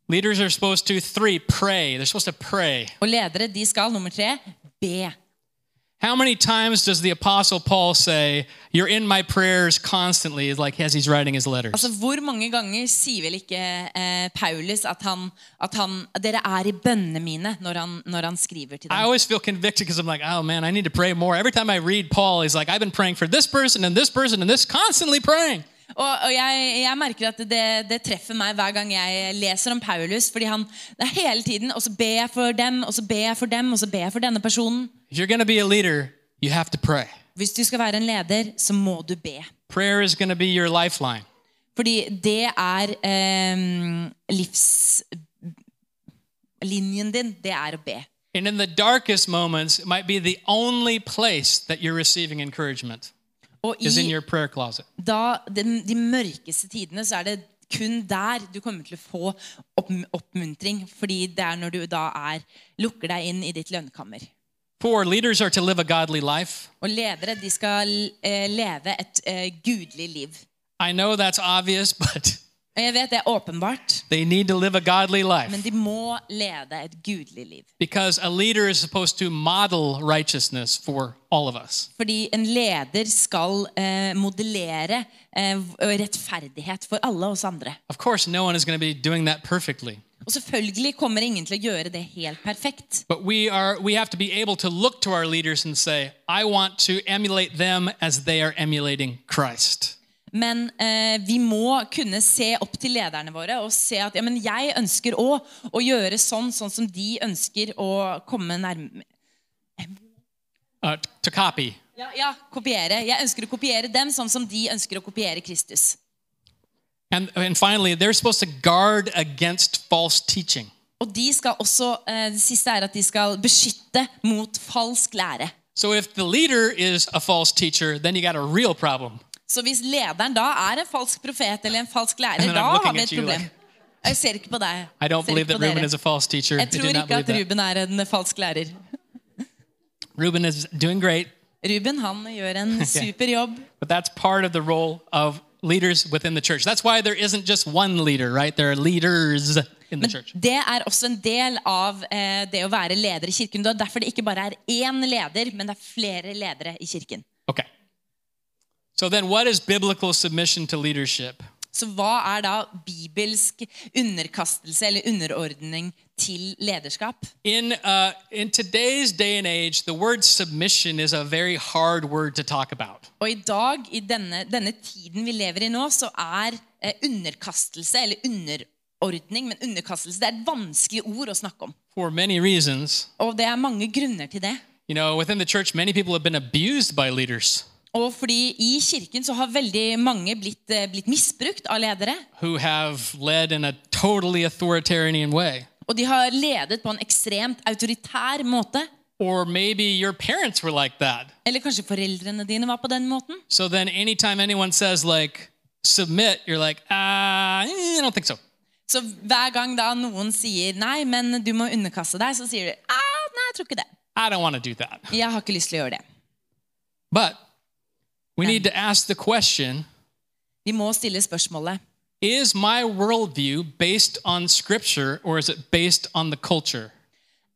Speaker 1: Leaders are supposed to, three, pray. They're supposed to pray.
Speaker 3: Og ledere de skal, nummer tre, be.
Speaker 1: How many times does the Apostle Paul say, You're in my prayers constantly, is like as he's writing his letters?
Speaker 3: Altså, Hvor mange ganger sier vel ikke eh, Paulus at, han, at han, dere er i bønnene mine når han, når han skriver til
Speaker 1: I
Speaker 3: dem?
Speaker 1: always feel convicted because I'm like, Oh man, I need to pray more. Every time I read Paul, he's like, I've been praying for this person and this person and this, constantly praying.
Speaker 3: Og, og jeg, jeg merker at det, det treffer meg hver gang jeg leser om Paulus. fordi han det er hele tiden, Og så ber jeg for dem, og så ber jeg for dem, og så ber jeg for denne personen.
Speaker 1: If you're going to be a leader, you have to pray.
Speaker 3: Hvis du skal være en leder, så må du be.
Speaker 1: Prayer is going to be your lifeline.
Speaker 3: Fordi det er eh, livslinjen din. Det er å be.
Speaker 1: And in the darkest moments, it might be the only place that you're receiving encouragement
Speaker 3: Og
Speaker 1: is in
Speaker 3: i
Speaker 1: your prayer closet.
Speaker 3: da, de, de mørkeste tidene så er det kun der du kommer til å få opp, oppmuntring. Fordi det er når du da er, lukker deg inn i ditt lønnkammer.
Speaker 1: Four, leaders are to live a godly life.
Speaker 3: Og ledere de skal eh, leve et eh, gudelig liv.
Speaker 1: I know that's obvious, but
Speaker 3: Og jeg vet det er åpenbart,
Speaker 1: they need to live a godly
Speaker 3: men
Speaker 1: life
Speaker 3: de må lede et gudelig liv.
Speaker 1: because a leader is supposed to model righteousness for all of us.
Speaker 3: Fordi en leder skal eh, modellere eh, rettferdighet for alle oss andre.
Speaker 1: Of course, no one is going to be doing that perfectly,
Speaker 3: Og selvfølgelig kommer ingen til å gjøre det helt perfekt.
Speaker 1: but we are we have to be able to look to our leaders and say, "I want to emulate them as they are emulating Christ."
Speaker 3: Men eh, vi må kunne se opp til lederne våre og se at ja, men jeg ønsker òg å gjøre sånn, sånn som de ønsker å komme nærme
Speaker 1: Uh, t- to copy.
Speaker 3: ja, ja, kopiere. Jeg ønsker å kopiere dem sånn som de ønsker å kopiere Kristus.
Speaker 1: And, and finally, they're supposed to guard against false teaching.
Speaker 3: Og de skal også, eh, Det siste er at de skal beskytte mot falsk lære.
Speaker 1: So if the leader is a false teacher, then you got a real problem.
Speaker 3: Så hvis lederen da er en falsk profet eller en falsk
Speaker 1: And
Speaker 3: lærer,
Speaker 1: then
Speaker 3: da
Speaker 1: I'm looking
Speaker 3: har vi
Speaker 1: at
Speaker 3: et
Speaker 1: you
Speaker 3: problem.
Speaker 1: like-
Speaker 3: Jeg ser ikke på deg.
Speaker 1: I don't
Speaker 3: Ser
Speaker 1: believe
Speaker 3: ikke
Speaker 1: that
Speaker 3: på
Speaker 1: Ruben
Speaker 3: dere.
Speaker 1: is a false teacher. I
Speaker 3: Jeg
Speaker 1: do
Speaker 3: tror
Speaker 1: not
Speaker 3: ikke
Speaker 1: believe
Speaker 3: at
Speaker 1: that.
Speaker 3: Ruben er en falsk lærer.
Speaker 1: Ruben is doing great,
Speaker 3: Ruben han gjør en super jobb.
Speaker 1: but that's part of the role of leaders within the church. That's why there isn't just one leader, right? There are leaders. in the
Speaker 3: Men
Speaker 1: church.
Speaker 3: det er også en del av eh, det å være leder i kirken. Det er derfor det ikke bare er én leder, men det er flere ledere i kirken.
Speaker 1: Okay. So then, what is biblical submission to leadership?
Speaker 3: Så hva er da bibelsk underkastelse eller underordning til lederskap?
Speaker 1: In, uh, in today's day and age, the word submission is a very hard word to talk about.
Speaker 3: Og i dag, i denne, denne tiden vi lever i nå, så er eh, underkastelse eller underordning Men underkastelse det er et vanskelig ord å snakke om.
Speaker 1: for many reasons.
Speaker 3: Og det er mange grunner til det.
Speaker 1: You know, within the church, many people have been abused by leaders
Speaker 3: Og fordi i kirken så har veldig mange blitt, eh, blitt misbrukt av ledere.
Speaker 1: who have led in a totally authoritarian way.
Speaker 3: Og de har ledet på en ekstremt autoritær måte.
Speaker 1: Or maybe your parents were like that.
Speaker 3: Eller kanskje foreldrene dine var på den måten.
Speaker 1: So then, anytime anyone says, like, submit, you're like, ah, eh, I don't think so.
Speaker 3: Så hver gang da noen sier 'nei, men du må underkaste deg', så sier du 'ah, nei, jeg tror ikke det'.
Speaker 1: I don't want to do that.
Speaker 3: Jeg har ikke lyst til å gjøre det.
Speaker 1: But we need to ask the question
Speaker 3: Vi må stille spørsmålet
Speaker 1: is my worldview based on scripture or is it based on the culture?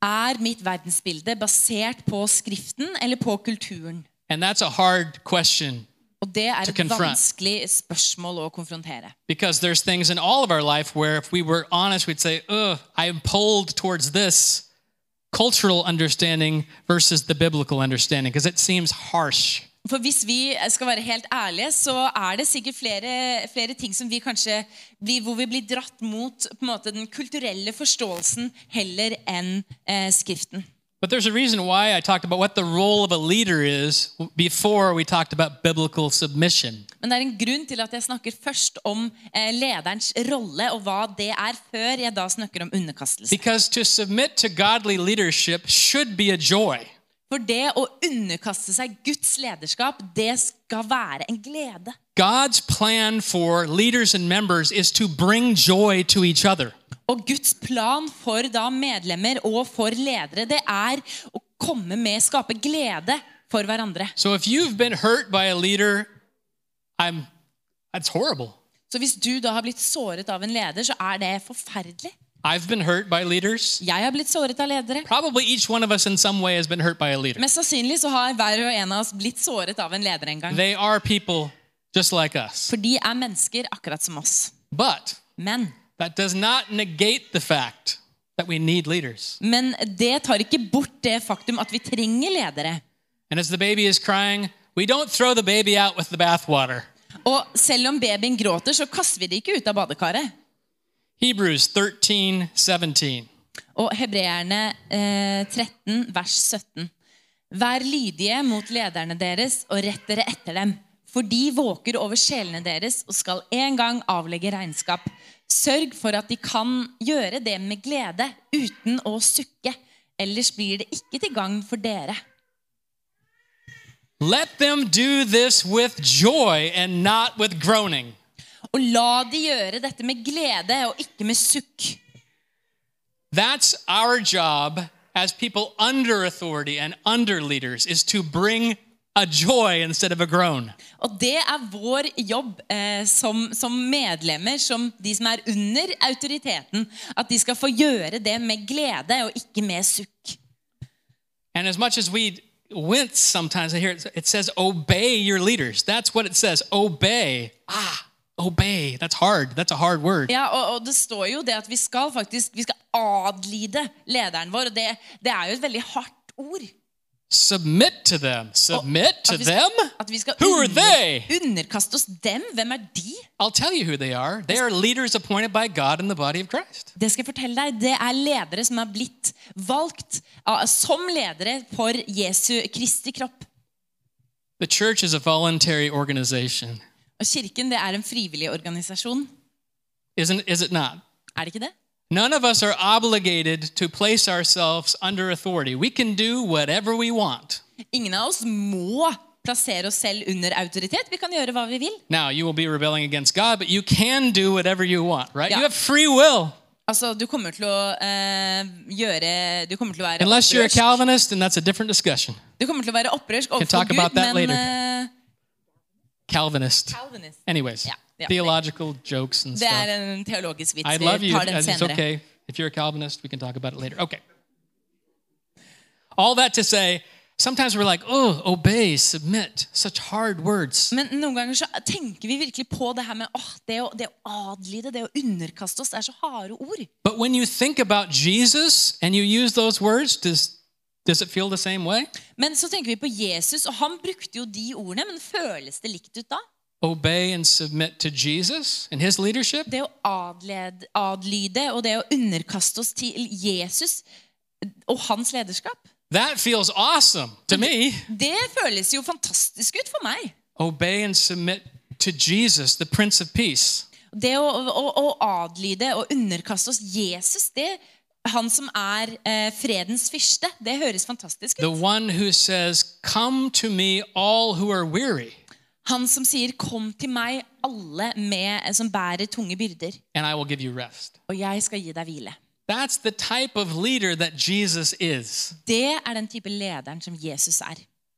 Speaker 3: Er mitt verdensbilde basert på Skriften eller på kulturen?
Speaker 1: And that's a hard question
Speaker 3: Og det er
Speaker 1: To
Speaker 3: et
Speaker 1: confront.
Speaker 3: vanskelig spørsmål å konfrontere.
Speaker 1: Because there's things in all of our life where if we were honest, we'd say, ugh, I am pulled towards this cultural understanding versus the biblical understanding because it seems harsh.
Speaker 3: For hvis vi skal være helt ærlige, så er det sikkert flere, flere ting som vi kanskje blir, hvor vi blir dratt mot på en måte, den kulturelle forståelsen heller enn eh, Skriften.
Speaker 1: But there's a reason why I talked about what the role of a leader is before we talked about biblical submission.
Speaker 3: Men det er en grunn til at jeg snakker først om eh, lederens rolle og hva det er, før jeg da snakker om underkastelse.
Speaker 1: Because to submit to godly leadership should be a joy.
Speaker 3: For det å underkaste seg Guds lederskap, det skal være en glede.
Speaker 1: God's plan for leaders and members is to bring joy to each other.
Speaker 3: Og Guds plan for da medlemmer og for ledere, det er å komme med, skape glede for hverandre.
Speaker 1: So if you've been hurt by a leader, I'm that's horrible.
Speaker 3: Så hvis du da har blitt såret av en leder, så er det forferdelig.
Speaker 1: I've been hurt by leaders.
Speaker 3: Jeg har blitt såret av ledere.
Speaker 1: Probably each one of us in some way has been hurt by a leader.
Speaker 3: Mest sannsynlig så har hver og en av oss blitt såret av en leder en gang.
Speaker 1: They are people just like us.
Speaker 3: For de er mennesker akkurat som oss.
Speaker 1: But
Speaker 3: Men,
Speaker 1: that does not negate the fact that we need leaders.
Speaker 3: men det tar ikke bort det faktum at vi trenger ledere.
Speaker 1: And as the baby is crying, we don't throw the baby out with the bathwater.
Speaker 3: Og selv om babyen gråter, så kaster vi det ikke ut av badekaret.
Speaker 1: Hebrews 13 17.
Speaker 3: Og hebreerne eh, 13, vers 17. Vær lydige mot lederne deres og rett dere etter dem. For de våker over sjelene deres og skal en gang avlegge regnskap. Sørg for at de kan gjøre det med glede uten å sukke. Ellers blir det ikke til gagn for dere.
Speaker 1: Let them do this with joy and not with groaning.
Speaker 3: Og la de gjøre dette med glede og ikke med sukk.
Speaker 1: That's our job as people under authority and under leaders is to bring a joy instead of a groan.
Speaker 3: Og det er vår jobb eh, som, som medlemmer, som de som er under autoriteten, at de skal få gjøre det med glede og ikke med sukk.
Speaker 1: And as much as we wince sometimes, I hear it, it says, obey your leaders. That's what it says, obey. Ah, obey. That's hard. That's a hard word.
Speaker 3: Ja, og, og det står jo det at vi skal faktisk vi skal adlyde lederen vår, og det, det er jo et veldig hardt ord.
Speaker 1: Submit to them. Submit to
Speaker 3: At vi skal,
Speaker 1: them?
Speaker 3: at vi skal
Speaker 1: Who are
Speaker 3: under,
Speaker 1: they?
Speaker 3: underkaste oss dem. Hvem er de?
Speaker 1: I'll tell you who they are. They are leaders appointed by God in the body of Christ.
Speaker 3: Det skal jeg fortelle deg, det er ledere som er blitt valgt av, som ledere for Jesu Kristi kropp.
Speaker 1: The church is a voluntary organization,
Speaker 3: Og kirken det er en frivillig organisasjon.
Speaker 1: isn't, is it not?
Speaker 3: Er det ikke det?
Speaker 1: None of us are obligated to place ourselves under authority. We can do whatever we want.
Speaker 3: Ingen av oss må plassere oss selv under autoritet. Vi kan gjøre hva vi vil.
Speaker 1: Now, you will be rebelling against God, but you can do whatever you want, right?
Speaker 3: Yeah.
Speaker 1: You have free will.
Speaker 3: Altså, Du kommer til å eh, gjøre Du kommer til å være
Speaker 1: Unless you're a
Speaker 3: opprørsk.
Speaker 1: Calvinist, and that's a different discussion.
Speaker 3: Du kommer til å være opprørsk overfor
Speaker 1: talk
Speaker 3: Gud,
Speaker 1: about that
Speaker 3: men
Speaker 1: later.
Speaker 3: eh,
Speaker 1: Calvinist.
Speaker 3: Calvinist.
Speaker 1: Anyways,
Speaker 3: Yeah, yeah.
Speaker 1: theological jokes and
Speaker 3: Det
Speaker 1: stuff.
Speaker 3: er en teologisk vits.
Speaker 1: I
Speaker 3: Vi
Speaker 1: love you.
Speaker 3: tar den
Speaker 1: and It's
Speaker 3: senere.
Speaker 1: okay. If you're a Calvinist, we can talk about it later. Okay. All that to say, sometimes we're like, oh, obey, submit, such hard words.
Speaker 3: Men noen ganger så tenker vi virkelig på det her med åh, det, å, det å adlyde, det å underkaste oss. Det er så harde ord.
Speaker 1: But when you think about Jesus and you use those words, does does it feel the same way?
Speaker 3: Men så tenker vi på Jesus, og han brukte jo de ordene, men føles det likt ut da?
Speaker 1: Obey and submit to Jesus and his leadership?
Speaker 3: Det å adled, adlyde og det å underkaste oss til Jesus og hans lederskap,
Speaker 1: That feels awesome to me.
Speaker 3: det føles jo fantastisk ut for meg.
Speaker 1: Obey and submit to Jesus, the Prince of Peace.
Speaker 3: Det å, å, å adlyde og underkaste oss Jesus, det han som er eh, fredens fyrste, det høres fantastisk ut.
Speaker 1: The one who says, Come to me, all who are weary,
Speaker 3: Han som sier 'Kom til meg, alle med, eh, som bærer tunge byrder,
Speaker 1: and I will give you rest.
Speaker 3: og jeg skal gi deg hvile'.
Speaker 1: That's the type of leader that Jesus is.
Speaker 3: Det er den type lederen som Jesus er.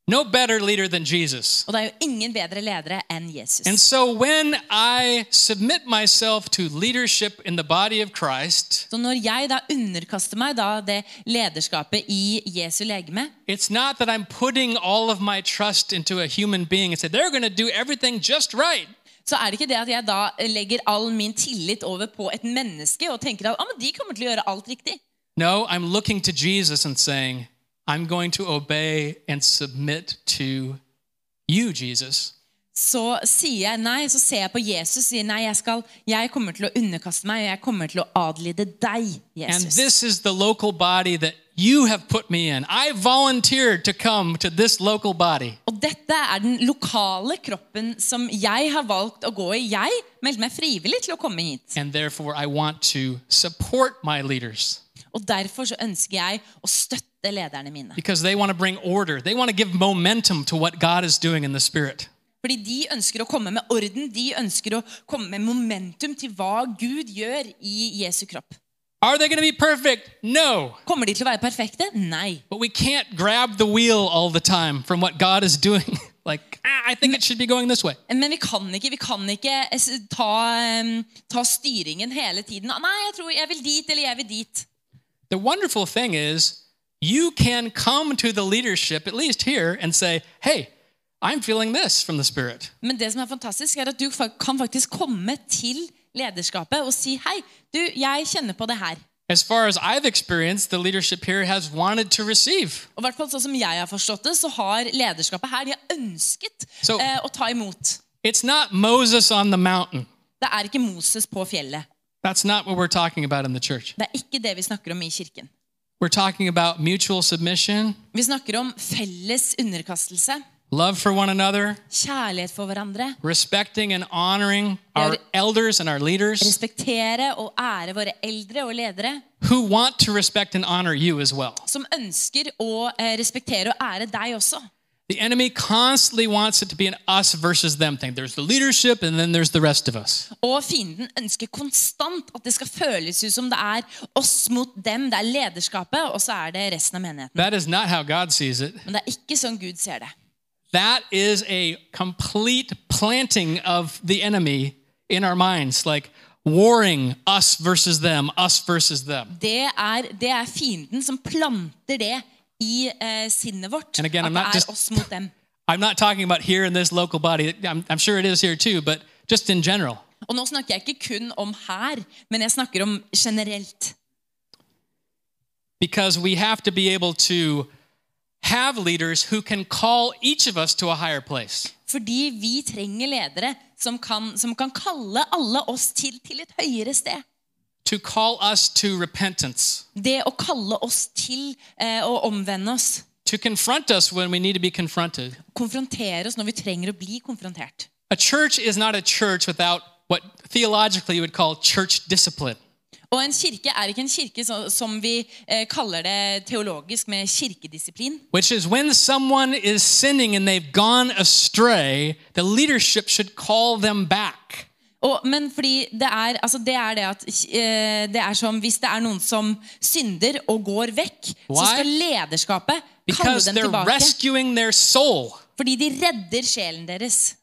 Speaker 1: No better leader than Jesus.
Speaker 3: Og det er jo ingen bedre ledere enn Jesus.
Speaker 1: And so when I submit myself to leadership in the body of Christ,
Speaker 3: Så når jeg da underkaster meg da det lederskapet i Jesu legeme,
Speaker 1: it's not that I'm putting all of my trust into a human being and say, they're going to do everything just right.
Speaker 3: så er det ikke det at jeg da legger all min tillit over på et menneske og tenker at ah, men de kommer til å gjøre alt riktig.
Speaker 1: No, I'm looking to Jesus and saying, I'm going to obey and submit to you, Jesus.
Speaker 3: Så sier jeg nei, så ser jeg på Jesus og sier nei, jeg, skal, jeg kommer til å underkaste meg, og jeg kommer til å adlyde deg,
Speaker 1: And
Speaker 3: Jesus.
Speaker 1: this is the local body that you have put me in. I volunteered to come to this local body.
Speaker 3: Og dette er den lokale kroppen som jeg har valgt å gå i. Jeg meldte meg frivillig til å komme hit.
Speaker 1: And therefore, I want to support my leaders
Speaker 3: Og derfor så ønsker jeg å støtte lederne mine.
Speaker 1: because they want to bring order. They want to give momentum to what God is doing in the Spirit.
Speaker 3: Fordi de ønsker å komme med orden, de ønsker å komme med momentum til hva Gud gjør i Jesu kropp.
Speaker 1: Are they going to be perfect? No.
Speaker 3: Kommer de til å være perfekte? Nei.
Speaker 1: But we can't grab the wheel all the time from what God is doing. like, ah, I think it should be going this way.
Speaker 3: Men vi kan ikke, vi kan ikke eh, s- ta, em, ta styringen hele tiden. Ah, Nei, jeg tror jeg vil dit, eller jeg vil dit.
Speaker 1: The wonderful thing is, you can come to the leadership, at least here, and say, hey, I'm feeling this from the Spirit.
Speaker 3: Men det som er fantastisk, er at du fa- kan faktisk komme til lederskapet og si hei, du, jeg kjenner på det her.
Speaker 1: As far as I've experienced, the leadership here has wanted to receive.
Speaker 3: Og i hvert fall sånn som jeg har forstått det, så har lederskapet her, de har ønsket
Speaker 1: Så-
Speaker 3: eh, å ta imot.
Speaker 1: It's not Moses on the mountain.
Speaker 3: Det er ikke Moses på fjellet.
Speaker 1: That's not what we're talking about in the church.
Speaker 3: Det er ikke det vi snakker om i kirken.
Speaker 1: We're talking about mutual submission,
Speaker 3: Vi snakker om felles underkastelse,
Speaker 1: love for one another,
Speaker 3: kjærlighet for hverandre,
Speaker 1: respecting and honoring our
Speaker 3: There-
Speaker 1: elders and our leaders
Speaker 3: respektere og ære våre eldre og ledere,
Speaker 1: who want to respect and honor you as well.
Speaker 3: som ønsker å eh, respektere og ære deg også.
Speaker 1: The enemy constantly wants it to be an us versus them thing. There's the leadership and then there's the rest of us.
Speaker 3: Og fienden ønsker konstant at det skal føles ut som det er oss mot dem, det er lederskapet, og så er det resten av menigheten.
Speaker 1: That is not how God sees it.
Speaker 3: Men det er ikke sånn Gud ser det.
Speaker 1: That is a complete planting of the enemy in our minds, like warring us versus them, us versus them.
Speaker 3: Det er, det er fienden som planter det i eh, sinnet vårt.
Speaker 1: And again, I'm
Speaker 3: at det
Speaker 1: not
Speaker 3: er
Speaker 1: just-
Speaker 3: oss mot dem.
Speaker 1: I'm not talking about here in this local body. I'm, I'm sure it is here too, but just in general.
Speaker 3: Og nå snakker jeg ikke kun om her, men jeg snakker om generelt.
Speaker 1: Because we have to be able to have leaders who can call each of us to a higher place.
Speaker 3: Fordi vi trenger ledere som kan, som kan kalle alle oss til, til et høyere sted.
Speaker 1: to call us to repentance,
Speaker 3: Det å kalle oss til eh, å omvende oss.
Speaker 1: to confront us when we need to be confronted.
Speaker 3: Konfrontere oss når vi trenger å bli konfrontert.
Speaker 1: A church is not a church without what theologically you would call church discipline.
Speaker 3: Og en kirke er ikke en kirke så, som vi eh, kaller det teologisk med kirkedisiplin.
Speaker 1: Which is when someone is sinning and they've gone astray, the leadership should call them back.
Speaker 3: Og, men fordi det er, altså det er det at eh, det er som hvis det er noen som synder og går vekk, så
Speaker 1: Why?
Speaker 3: skal lederskapet kalle
Speaker 1: Because
Speaker 3: dem
Speaker 1: they're
Speaker 3: tilbake.
Speaker 1: rescuing their soul.
Speaker 3: Fordi de redder sjelen deres.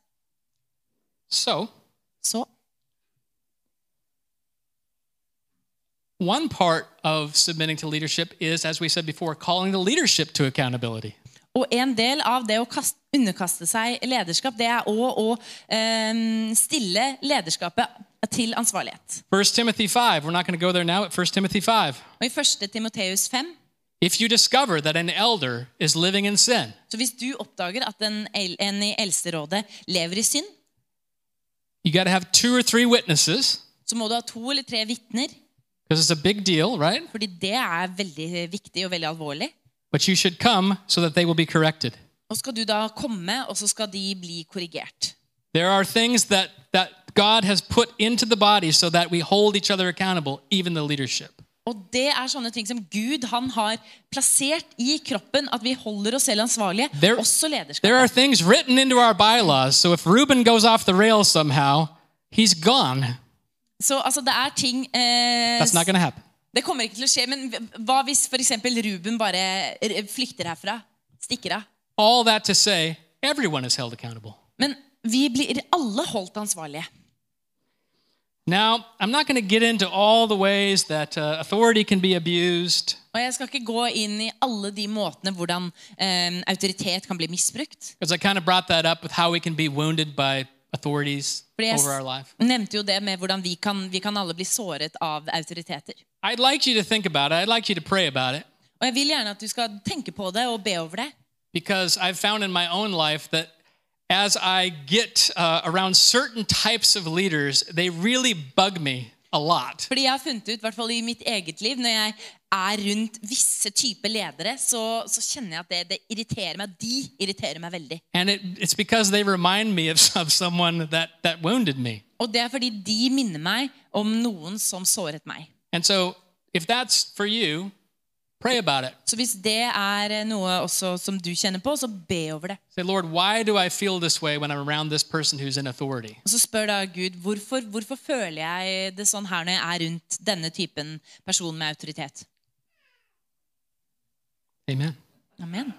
Speaker 1: So,
Speaker 3: Så
Speaker 1: one part of submitting to leadership is, as we said before, calling the leadership to accountability.
Speaker 3: Og en del av det å kast- underkaste seg lederskap, det er òg å eh, stille lederskapet til ansvarlighet.
Speaker 1: 1 Timothy 5, we're not going to go there now, but 1 Timothy 5.
Speaker 3: Og I 1. Timoteus 5
Speaker 1: If you discover that an elder is living in sin,
Speaker 3: så hvis du oppdager at en, el- en i eldsterådet lever i synd,
Speaker 1: you got to have two or three witnesses
Speaker 3: så må du ha to eller tre vitner,
Speaker 1: because it's a big deal, right?
Speaker 3: fordi det er veldig viktig og veldig alvorlig.
Speaker 1: But you should come so that they will be corrected.
Speaker 3: Og skal du da komme, og så skal de bli korrigert.
Speaker 1: There are things that, that God has put into the body so that we hold each other accountable, even the leadership.
Speaker 3: Og det er sånne ting som Gud han har plassert i kroppen, at vi holder oss selv ansvarlige,
Speaker 1: There-
Speaker 3: også lederskapet.
Speaker 1: There are things written into our bylaws, so if Reuben goes off the rails somehow, he's gone.
Speaker 3: Så altså, det er ting eh,
Speaker 1: That's not going to happen.
Speaker 3: Det kommer ikke til å skje, men hva hvis f.eks. Ruben bare r- flykter herfra? Stikker av?
Speaker 1: All that to say, everyone is held accountable.
Speaker 3: Men vi blir alle holdt ansvarlige.
Speaker 1: Now, I'm not going to get into all the ways that uh, authority can be abused,
Speaker 3: Og jeg skal ikke gå inn i alle de måtene hvordan eh, autoritet kan bli misbrukt.
Speaker 1: because I kind of brought that up with how we can be wounded by authorities
Speaker 3: Fordi jeg
Speaker 1: over our life.
Speaker 3: s- nevnte jo det med hvordan vi kan, vi kan alle bli såret av autoriteter.
Speaker 1: I'd like you to think about it. I'd like you to pray about it,
Speaker 3: Og jeg vil gjerne at du skal tenke på det og be over det.
Speaker 1: because I've found in my own life that as I get uh, around certain types of leaders, they really bug me a lot.
Speaker 3: Fordi jeg har funnet ut, i hvert fall i mitt eget liv, når jeg er rundt visse typer ledere, så, så kjenner jeg at det, det irriterer meg. De irriterer meg veldig.
Speaker 1: And it, it's because they remind me of, of someone that, that wounded me.
Speaker 3: Og det er fordi de minner meg om noen som såret meg.
Speaker 1: And so, if that's for you, pray about it.
Speaker 3: Så hvis det er noe også som du kjenner på, så be over det.
Speaker 1: Say, Lord, why do I feel this way when I'm around this person who's in authority?
Speaker 3: Og så spør da Gud hvorfor, hvorfor føler jeg det sånn her når jeg er rundt denne typen person med autoritet.
Speaker 1: Amen.
Speaker 3: Amen.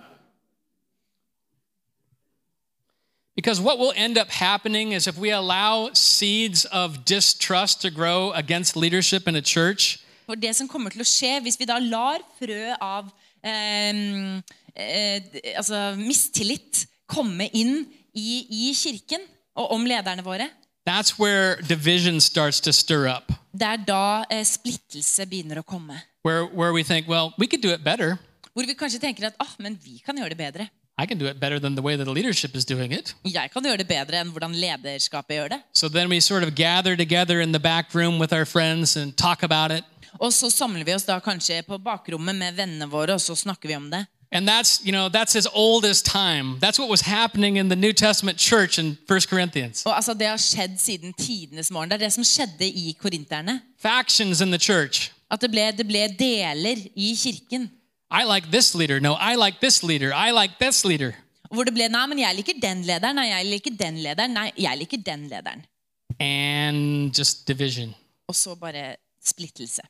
Speaker 1: Because what will end up happening is if we allow seeds of distrust to grow against leadership in a church,
Speaker 3: For det som kommer til å skje hvis vi da lar frø av eh, eh, altså mistillit komme inn i, i kirken og om lederne våre,
Speaker 1: that's where division starts to stir up,
Speaker 3: det er da eh, splittelse begynner å komme.
Speaker 1: where, where we think, well, we could do it better.
Speaker 3: Hvor vi kanskje tenker at ah, men vi kan gjøre det bedre.
Speaker 1: I can do it better than the way that the leadership is doing it.
Speaker 3: Jeg kan gjøre det bedre enn hvordan lederskapet gjør det.
Speaker 1: So then we sort of gather together in the back room with our friends and talk about it.
Speaker 3: Og så samler vi oss da kanskje på bakrommet med vennene våre, og så snakker vi om det.
Speaker 1: And that's, you know, that's as old as time. That's what was happening in the New Testament church in 1 Corinthians.
Speaker 3: Og altså, Det har skjedd siden tidenes morgen. Det er det som skjedde i korinterne.
Speaker 1: Factions in the church.
Speaker 3: At det ble, det ble deler i kirken.
Speaker 1: I like this leader. No, I like this leader. I like this leader.
Speaker 3: Hvor det ble 'nei, men jeg liker den lederen', 'nei, jeg liker den lederen', 'nei, jeg liker den lederen'.
Speaker 1: And just division.
Speaker 3: Og så bare splittelse.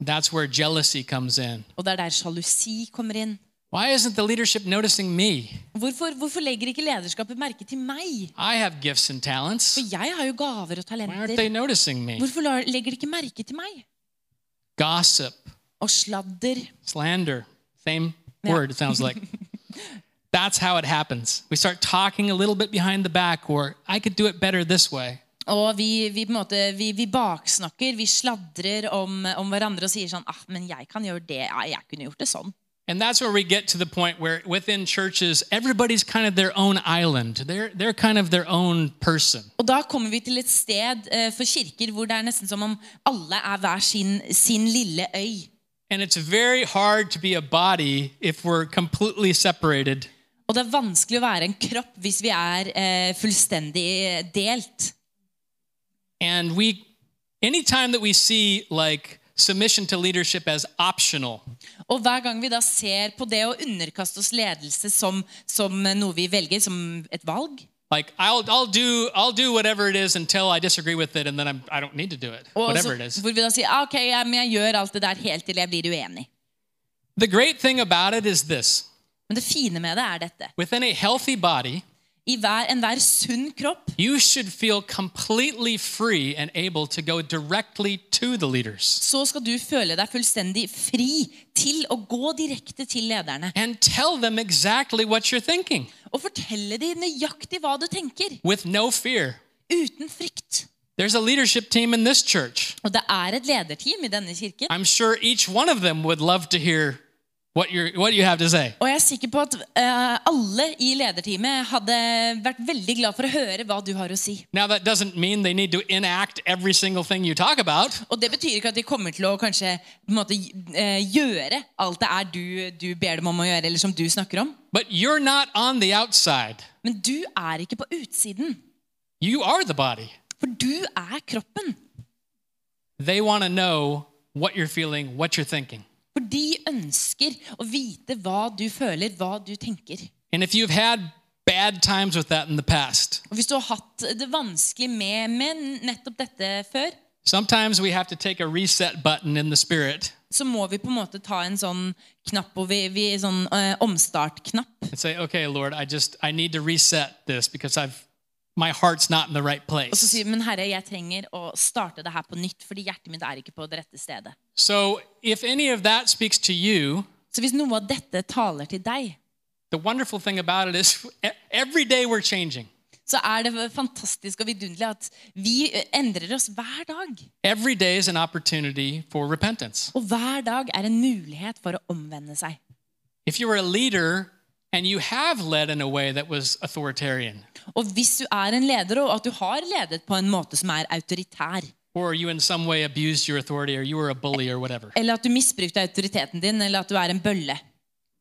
Speaker 1: That's where jealousy comes in.
Speaker 3: Og det er der sjalusi kommer inn.
Speaker 1: Why isn't the leadership noticing me?
Speaker 3: Hvorfor, hvorfor legger ikke lederskapet merke til meg?
Speaker 1: I have gifts and talents.
Speaker 3: Jeg har jo gaver og
Speaker 1: Why aren't they
Speaker 3: talenter.
Speaker 1: noticing me?
Speaker 3: Hvorfor lar- legger de ikke merke til meg?
Speaker 1: Gossip,
Speaker 3: Og sladder.
Speaker 1: slander, same
Speaker 3: Yeah.
Speaker 1: word, it sounds like. That's how it happens. We start talking a little bit behind the back, or I could do it better this way.
Speaker 3: Og vi, vi, på en måte, vi, vi baksnakker, vi sladrer om, om hverandre og sier sånn ah, 'Men jeg kan gjøre det. Ah, jeg kunne gjort det sånn.'
Speaker 1: And that's where we get to the point where within churches, everybody's kind of their own island. They're, they're kind of their own person.
Speaker 3: Og da kommer vi til et sted eh, for kirker hvor det er nesten som om alle er hver sin, sin lille øy.
Speaker 1: And it's very hard to be a body if we're completely separated.
Speaker 3: Og det er vanskelig å være en kropp hvis vi er eh, fullstendig delt.
Speaker 1: And we, anytime that we see like submission to leadership as optional,
Speaker 3: Og hver gang vi da ser på det å underkaste oss ledelse som, som noe vi velger, som et valg
Speaker 1: like I'll, I'll do, I'll do whatever it is until I disagree with it, and then I'm, I don't need to do it,
Speaker 3: og
Speaker 1: whatever
Speaker 3: så-
Speaker 1: it is.
Speaker 3: Hvor vi da sier ah, ok, ja, men jeg gjør alt det der helt til jeg blir uenig.
Speaker 1: The great thing about it is this:
Speaker 3: Men det fine med det er dette.
Speaker 1: within a healthy body,
Speaker 3: i hver, enhver sunn kropp,
Speaker 1: you should feel completely free and able to go directly to the leaders
Speaker 3: så skal du føle deg fullstendig fri til å gå direkte til lederne
Speaker 1: and tell them exactly what you're thinking
Speaker 3: og fortelle dem nøyaktig hva du tenker,
Speaker 1: with no fear.
Speaker 3: uten frykt.
Speaker 1: There's a leadership team in this church.
Speaker 3: Og det er et lederteam i denne kirken.
Speaker 1: I'm sure each one of them would love to hear what, you're, what you have to say.
Speaker 3: Og jeg er sikker på at eh, alle i lederteamet hadde vært veldig glad for å høre hva du har å si.
Speaker 1: Now, that doesn't mean they need to enact every single thing you talk about,
Speaker 3: Og det betyr ikke at de kommer til å kanskje på en måte, eh, gjøre alt det er du, du ber dem om å gjøre, eller som du snakker om.
Speaker 1: but you're not on the outside.
Speaker 3: Men du er ikke på utsiden,
Speaker 1: You are the body.
Speaker 3: for du er kroppen.
Speaker 1: They want to know what you're feeling, what you're thinking.
Speaker 3: For de ønsker å vite hva du føler, hva du tenker.
Speaker 1: And if you've had bad times with that in the past,
Speaker 3: Og hvis du har hatt det vanskelig med, med nettopp dette før,
Speaker 1: sometimes we have to take a reset button in the spirit
Speaker 3: så må vi på en måte ta en sånn knapp, og vi, vi sånn eh, omstartknapp.
Speaker 1: and say, okay, Lord, I just, I need to reset this because I've, my heart's not in the right
Speaker 3: Og så
Speaker 1: place.
Speaker 3: sier vi, men herre, jeg trenger å starte det her på nytt, fordi hjertet mitt er ikke på det rette stedet.
Speaker 1: So if any of that speaks to you,
Speaker 3: Så hvis noe av dette taler til deg,
Speaker 1: the wonderful thing about it is e- every day we're changing.
Speaker 3: så er det fantastisk og vidunderlig at vi endrer oss hver dag.
Speaker 1: Every day is an opportunity for repentance.
Speaker 3: Og hver dag er en mulighet for å omvende seg.
Speaker 1: If you were a leader and you have led in a way that was authoritarian,
Speaker 3: Og hvis du er en leder, og at du har ledet på en måte som er autoritær,
Speaker 1: or you in some way abused your authority, or you were a bully, or whatever,
Speaker 3: eller at du misbrukte autoriteten din, eller at du er en bølle,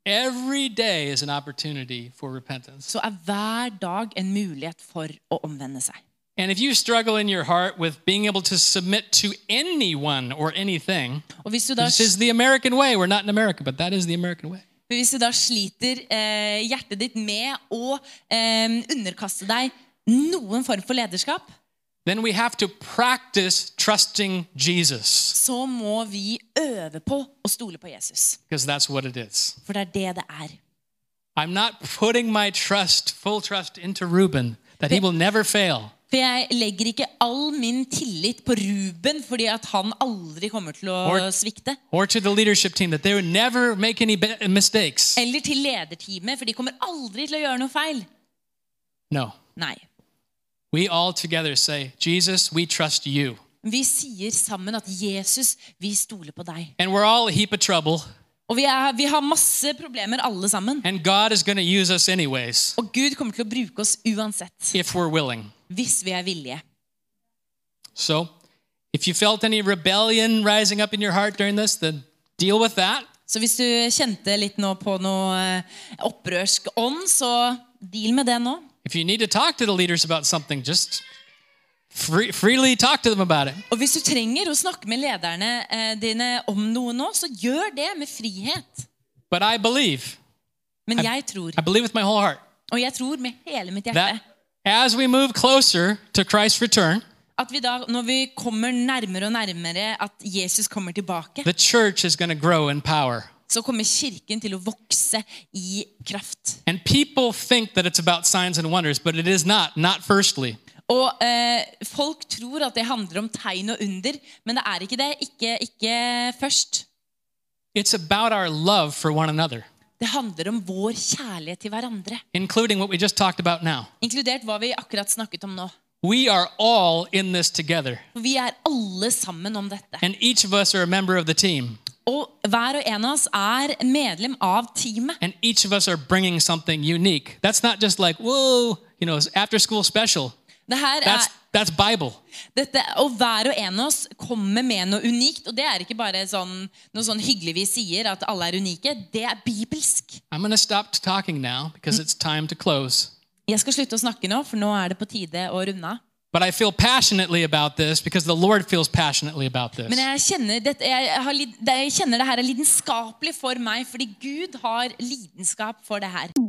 Speaker 1: every day is an opportunity for repentance.
Speaker 3: så er hver dag en mulighet for å omvende seg.
Speaker 1: And if you struggle in your heart with being able to submit to anyone or anything,
Speaker 3: Og hvis du da,
Speaker 1: this is the American way. We're not in America, but that is the American way.
Speaker 3: hvis du da sliter eh, hjertet ditt med å eh, underkaste deg noen form for lederskap,
Speaker 1: Then we have to practice trusting Jesus
Speaker 3: så må vi øve på å stole på Jesus.
Speaker 1: because that's what it is.
Speaker 3: For det er det det er.
Speaker 1: I'm not putting my trust, full trust, into Reuben that he will never fail.
Speaker 3: For jeg legger ikke all min tillit på Ruben fordi at han aldri kommer til å
Speaker 1: Or-
Speaker 3: svikte.
Speaker 1: Or to the leadership team that they would never make any be- mistakes.
Speaker 3: Eller til lederteamet, for de kommer aldri til å gjøre noe feil.
Speaker 1: No.
Speaker 3: Nei.
Speaker 1: We all together say, Jesus, we trust you.
Speaker 3: Vi sier sammen at Jesus, vi stoler på deg.
Speaker 1: And we're all a heap of trouble,
Speaker 3: Og vi, er, vi har masse problemer alle sammen.
Speaker 1: and God is going to use us anyways
Speaker 3: Og Gud kommer til å bruke oss uansett,
Speaker 1: if we're willing.
Speaker 3: hvis vi er villige.
Speaker 1: So, if you felt any rebellion rising up in your heart during this, then deal with that.
Speaker 3: Så hvis du kjente litt nå på noe eh, opprørsk ånd, så deal med det nå.
Speaker 1: If you need to talk to the leaders about something, just free- freely talk to them about it.
Speaker 3: Og hvis du trenger å snakke med lederne eh, dine om noe nå, så gjør det med frihet.
Speaker 1: But I believe,
Speaker 3: Men jeg tror,
Speaker 1: I believe with my whole heart.
Speaker 3: og jeg tror med hele mitt hjerte,
Speaker 1: that as we move closer to Christ's return,
Speaker 3: at vi da, når vi kommer nærmere og nærmere at Jesus kommer tilbake,
Speaker 1: the church is going to grow in power.
Speaker 3: så kommer kirken til å vokse i kraft.
Speaker 1: And people think that it's about signs and wonders, but it is not, not firstly.
Speaker 3: Og eh, folk tror at det handler om tegn og under, men det er ikke det. Ikke, ikke først.
Speaker 1: It's about our love for one another,
Speaker 3: Det handler om vår kjærlighet til hverandre,
Speaker 1: including what we just talked about now.
Speaker 3: inkludert hva vi akkurat snakket om nå.
Speaker 1: We are all in this together,
Speaker 3: For vi er alle sammen om dette.
Speaker 1: and each of us are a member of the team,
Speaker 3: Og hver og en av oss er medlem av teamet.
Speaker 1: and each of us are bringing something unique. That's not just like, whoa, you know, after school special.
Speaker 3: Det her er,
Speaker 1: That's, that's Bible.
Speaker 3: dette, og hver og en av oss kommer med noe unikt. Og det er ikke bare sånn, noe sånn hyggelig vi sier at alle er unike. Det er bibelsk.
Speaker 1: I'm going to stop talking now because it's time to close.
Speaker 3: Jeg skal slutte å snakke nå, for nå er det på tide å runde av.
Speaker 1: But I feel passionately about this because the Lord feels passionately about this.
Speaker 3: Men jeg kjenner, dette, jeg, har, lid- det- jeg kjenner det her er lidenskapelig for meg, fordi Gud har lidenskap for det her.